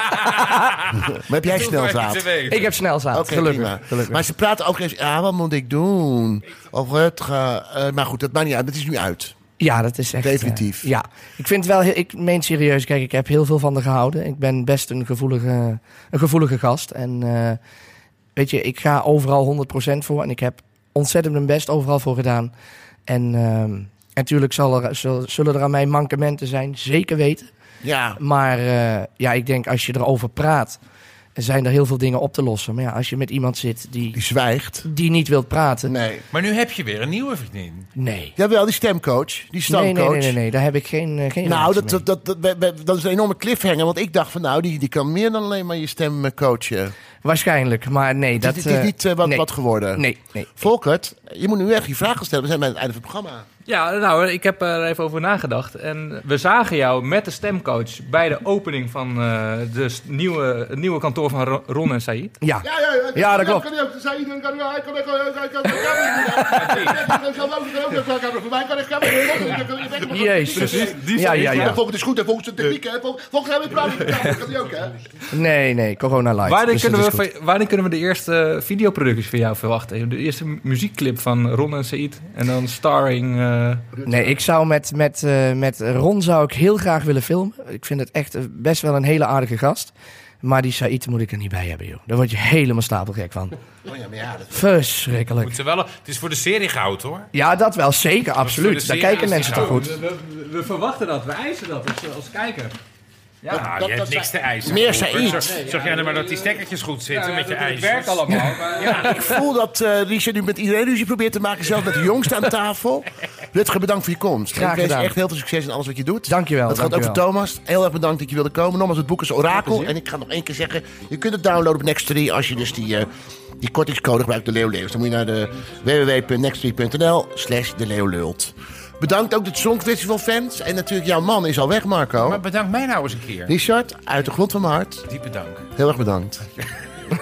S1: maar heb jij
S13: Dat hoef ik
S1: snelzaad?
S13: niet te weten. Ik heb snelzaad,
S1: Oké,
S13: gelukkig,
S1: prima. Maar ze praten ook eens... Ja, wat moet ik doen? Of het gaat... eh, maar goed, dat maakt niet uit. Het is nu uit.
S13: Ja, dat is echt...
S1: Definitief.
S13: eh, ja, ik vind wel... heel- Ik meen serieus. Kijk, ik heb heel veel van haar gehouden. Ik ben best een gevoelige, een gevoelige gast. En eh, weet je, ik ga overal 100% voor. En ik heb ontzettend mijn best overal voor gedaan. En ehm, en natuurlijk zal er, zul- zullen er aan mij mankementen zijn. Zeker weten.
S1: Ja.
S13: Maar eh, ja, ik denk als je erover praat... zijn er heel veel dingen op te lossen. Maar ja, als je met iemand zit die... Die
S1: zwijgt.
S13: Die niet wilt praten.
S1: Nee.
S5: Maar nu heb je weer een nieuwe vriendin.
S13: Nee.
S1: Jawel, die stemcoach. Die
S13: Nee,
S1: stamcoach.
S13: nee, nee, nee, nee, daar heb ik geen, eh, geen
S1: Nou,
S13: relatie
S1: dat, dat, dat, dat, we- we- dat is een enorme cliffhanger. Want ik dacht van, nou, die, die kan meer dan alleen maar je stem eh, coachen.
S13: Waarschijnlijk, maar nee. Dat,
S1: het, is
S13: eh,
S1: niet eh, wat,
S13: nee.
S1: wat geworden.
S13: Nee, nee.
S1: Volkert, je moet nu echt je vragen stellen. We zijn bij het einde van het programma.
S14: Ja, nou, ik heb er even over nagedacht. En we zagen jou met de stemcoach bij de opening van eh, de s- nieuwe, het nieuwe kantoor van Ro- Ron en Said.
S13: Ja,
S1: ja, ja.
S14: Ja, dat klopt.
S13: Jezus. Ja, ja, ja.
S1: Volgens het is goed en volgens de techniek, hè. Vol- Volgens hem is het prima. Ja, dat kan die ook, hè.
S13: Nee, nee, corona live.
S14: Wanneer,
S13: dus
S14: kunnen
S13: dat
S14: we,
S13: is goed.
S14: van- wanneer kunnen we de eerste videoproductie van jou verwachten? De eerste mu- muziekclip van Ron en Said en dan starring... eh,
S13: Nee, ik zou met, met, eh, met Ron zou ik heel graag willen filmen. Ik vind het echt eh, best wel een hele aardige gast. Maar die Said moet ik er niet bij hebben, joh. Daar word je helemaal stapelgek van.
S5: Oh ja, maar ja. Dat...
S13: Verschrikkelijk.
S5: Moeten wel, het is voor de serie goud, hoor.
S13: Ja, dat wel, zeker,
S5: voor
S13: absoluut. Daar
S5: de serie
S13: kijken
S5: is
S13: mensen
S5: die
S13: toch
S5: goud.
S13: goed.
S14: we, we verwachten dat, we eisen dat als, als kijker. Ja,
S5: Nou, je hebt niks te eisen.
S1: Meer
S5: Cooper.
S1: Saïd.
S5: Zorg- Zorg jij nou maar dat die stekkertjes goed zitten
S14: Ja,
S5: met je
S14: dat- dat
S5: ijs.
S14: werkt allemaal, maar-
S1: Ik voel dat eh Richard nu met iedereen ruzie probeert te maken. Zelfs met de jongste aan tafel. Rutger, bedankt voor je komst.
S13: Graag
S1: ik wens je
S13: gedaan.
S1: echt heel veel succes in alles wat je doet.
S13: Dankjewel.
S1: Dat gaat ook voor
S13: dankjewel.
S1: Thomas. Heel erg bedankt dat je wilde komen. Nogmaals, het boek is Orakel.
S13: plezier.
S1: En ik ga nog één keer zeggen, je kunt het downloaden op Nextory als je dus die, eh, die kortingscode gebruikt, de Leeuwleeuws. Dan moet je naar de www.nextory.nl slash de Leeuwlult. Bedankt ook de Songfestival fans. En natuurlijk, jouw man is al weg, Marco.
S5: Maar bedank mij nou eens een keer.
S1: Richard, uit de grond van mijn hart,
S5: Diepe dank.
S1: heel erg bedankt.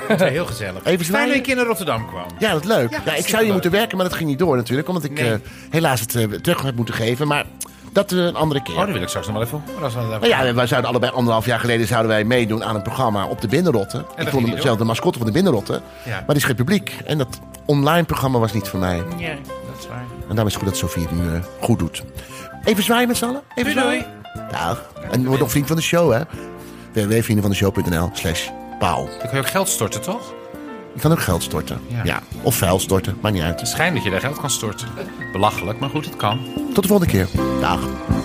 S5: Het was heel gezellig.
S1: Even
S5: Fijn
S1: zwaaien.
S5: dat ik in Rotterdam kwam.
S1: Ja, dat is leuk. Ja, ik zou
S5: superleuk.
S1: je moeten werken, maar dat ging niet door natuurlijk. Omdat ik
S5: Nee.
S1: eh, helaas het eh, terug heb moeten geven. Maar dat eh, een andere keer.
S5: Oh, daar wil ik straks nog wel even horen. als we dat even-
S1: Nou ja, wij zouden allebei anderhalf jaar geleden zouden wij meedoen aan een programma op de Binnenrotten. Ik
S5: ging
S1: vond
S5: niet
S1: hem zelf de mascotte van de Binnenrotten.
S5: Ja.
S1: Maar er is geen publiek. En dat online programma was niet voor mij.
S5: Ja, dat is waar.
S1: En daarom is het goed dat Sofie het nu eh, goed doet. Even zwaaien met z'n allen. Even
S5: Doei,
S1: zwaaien. Dag. En word nog vriend van de show, hè. www.vriendenvandeshow.nl slash paal.
S5: Dan kun je ook geld storten, toch?
S1: Je kan ook geld storten.
S5: Ja.
S1: Ja. Of vuil storten, maakt niet uit.
S5: Het schijnt dat je daar geld kan storten. Belachelijk, maar goed, het kan.
S1: Tot de volgende keer. Dag.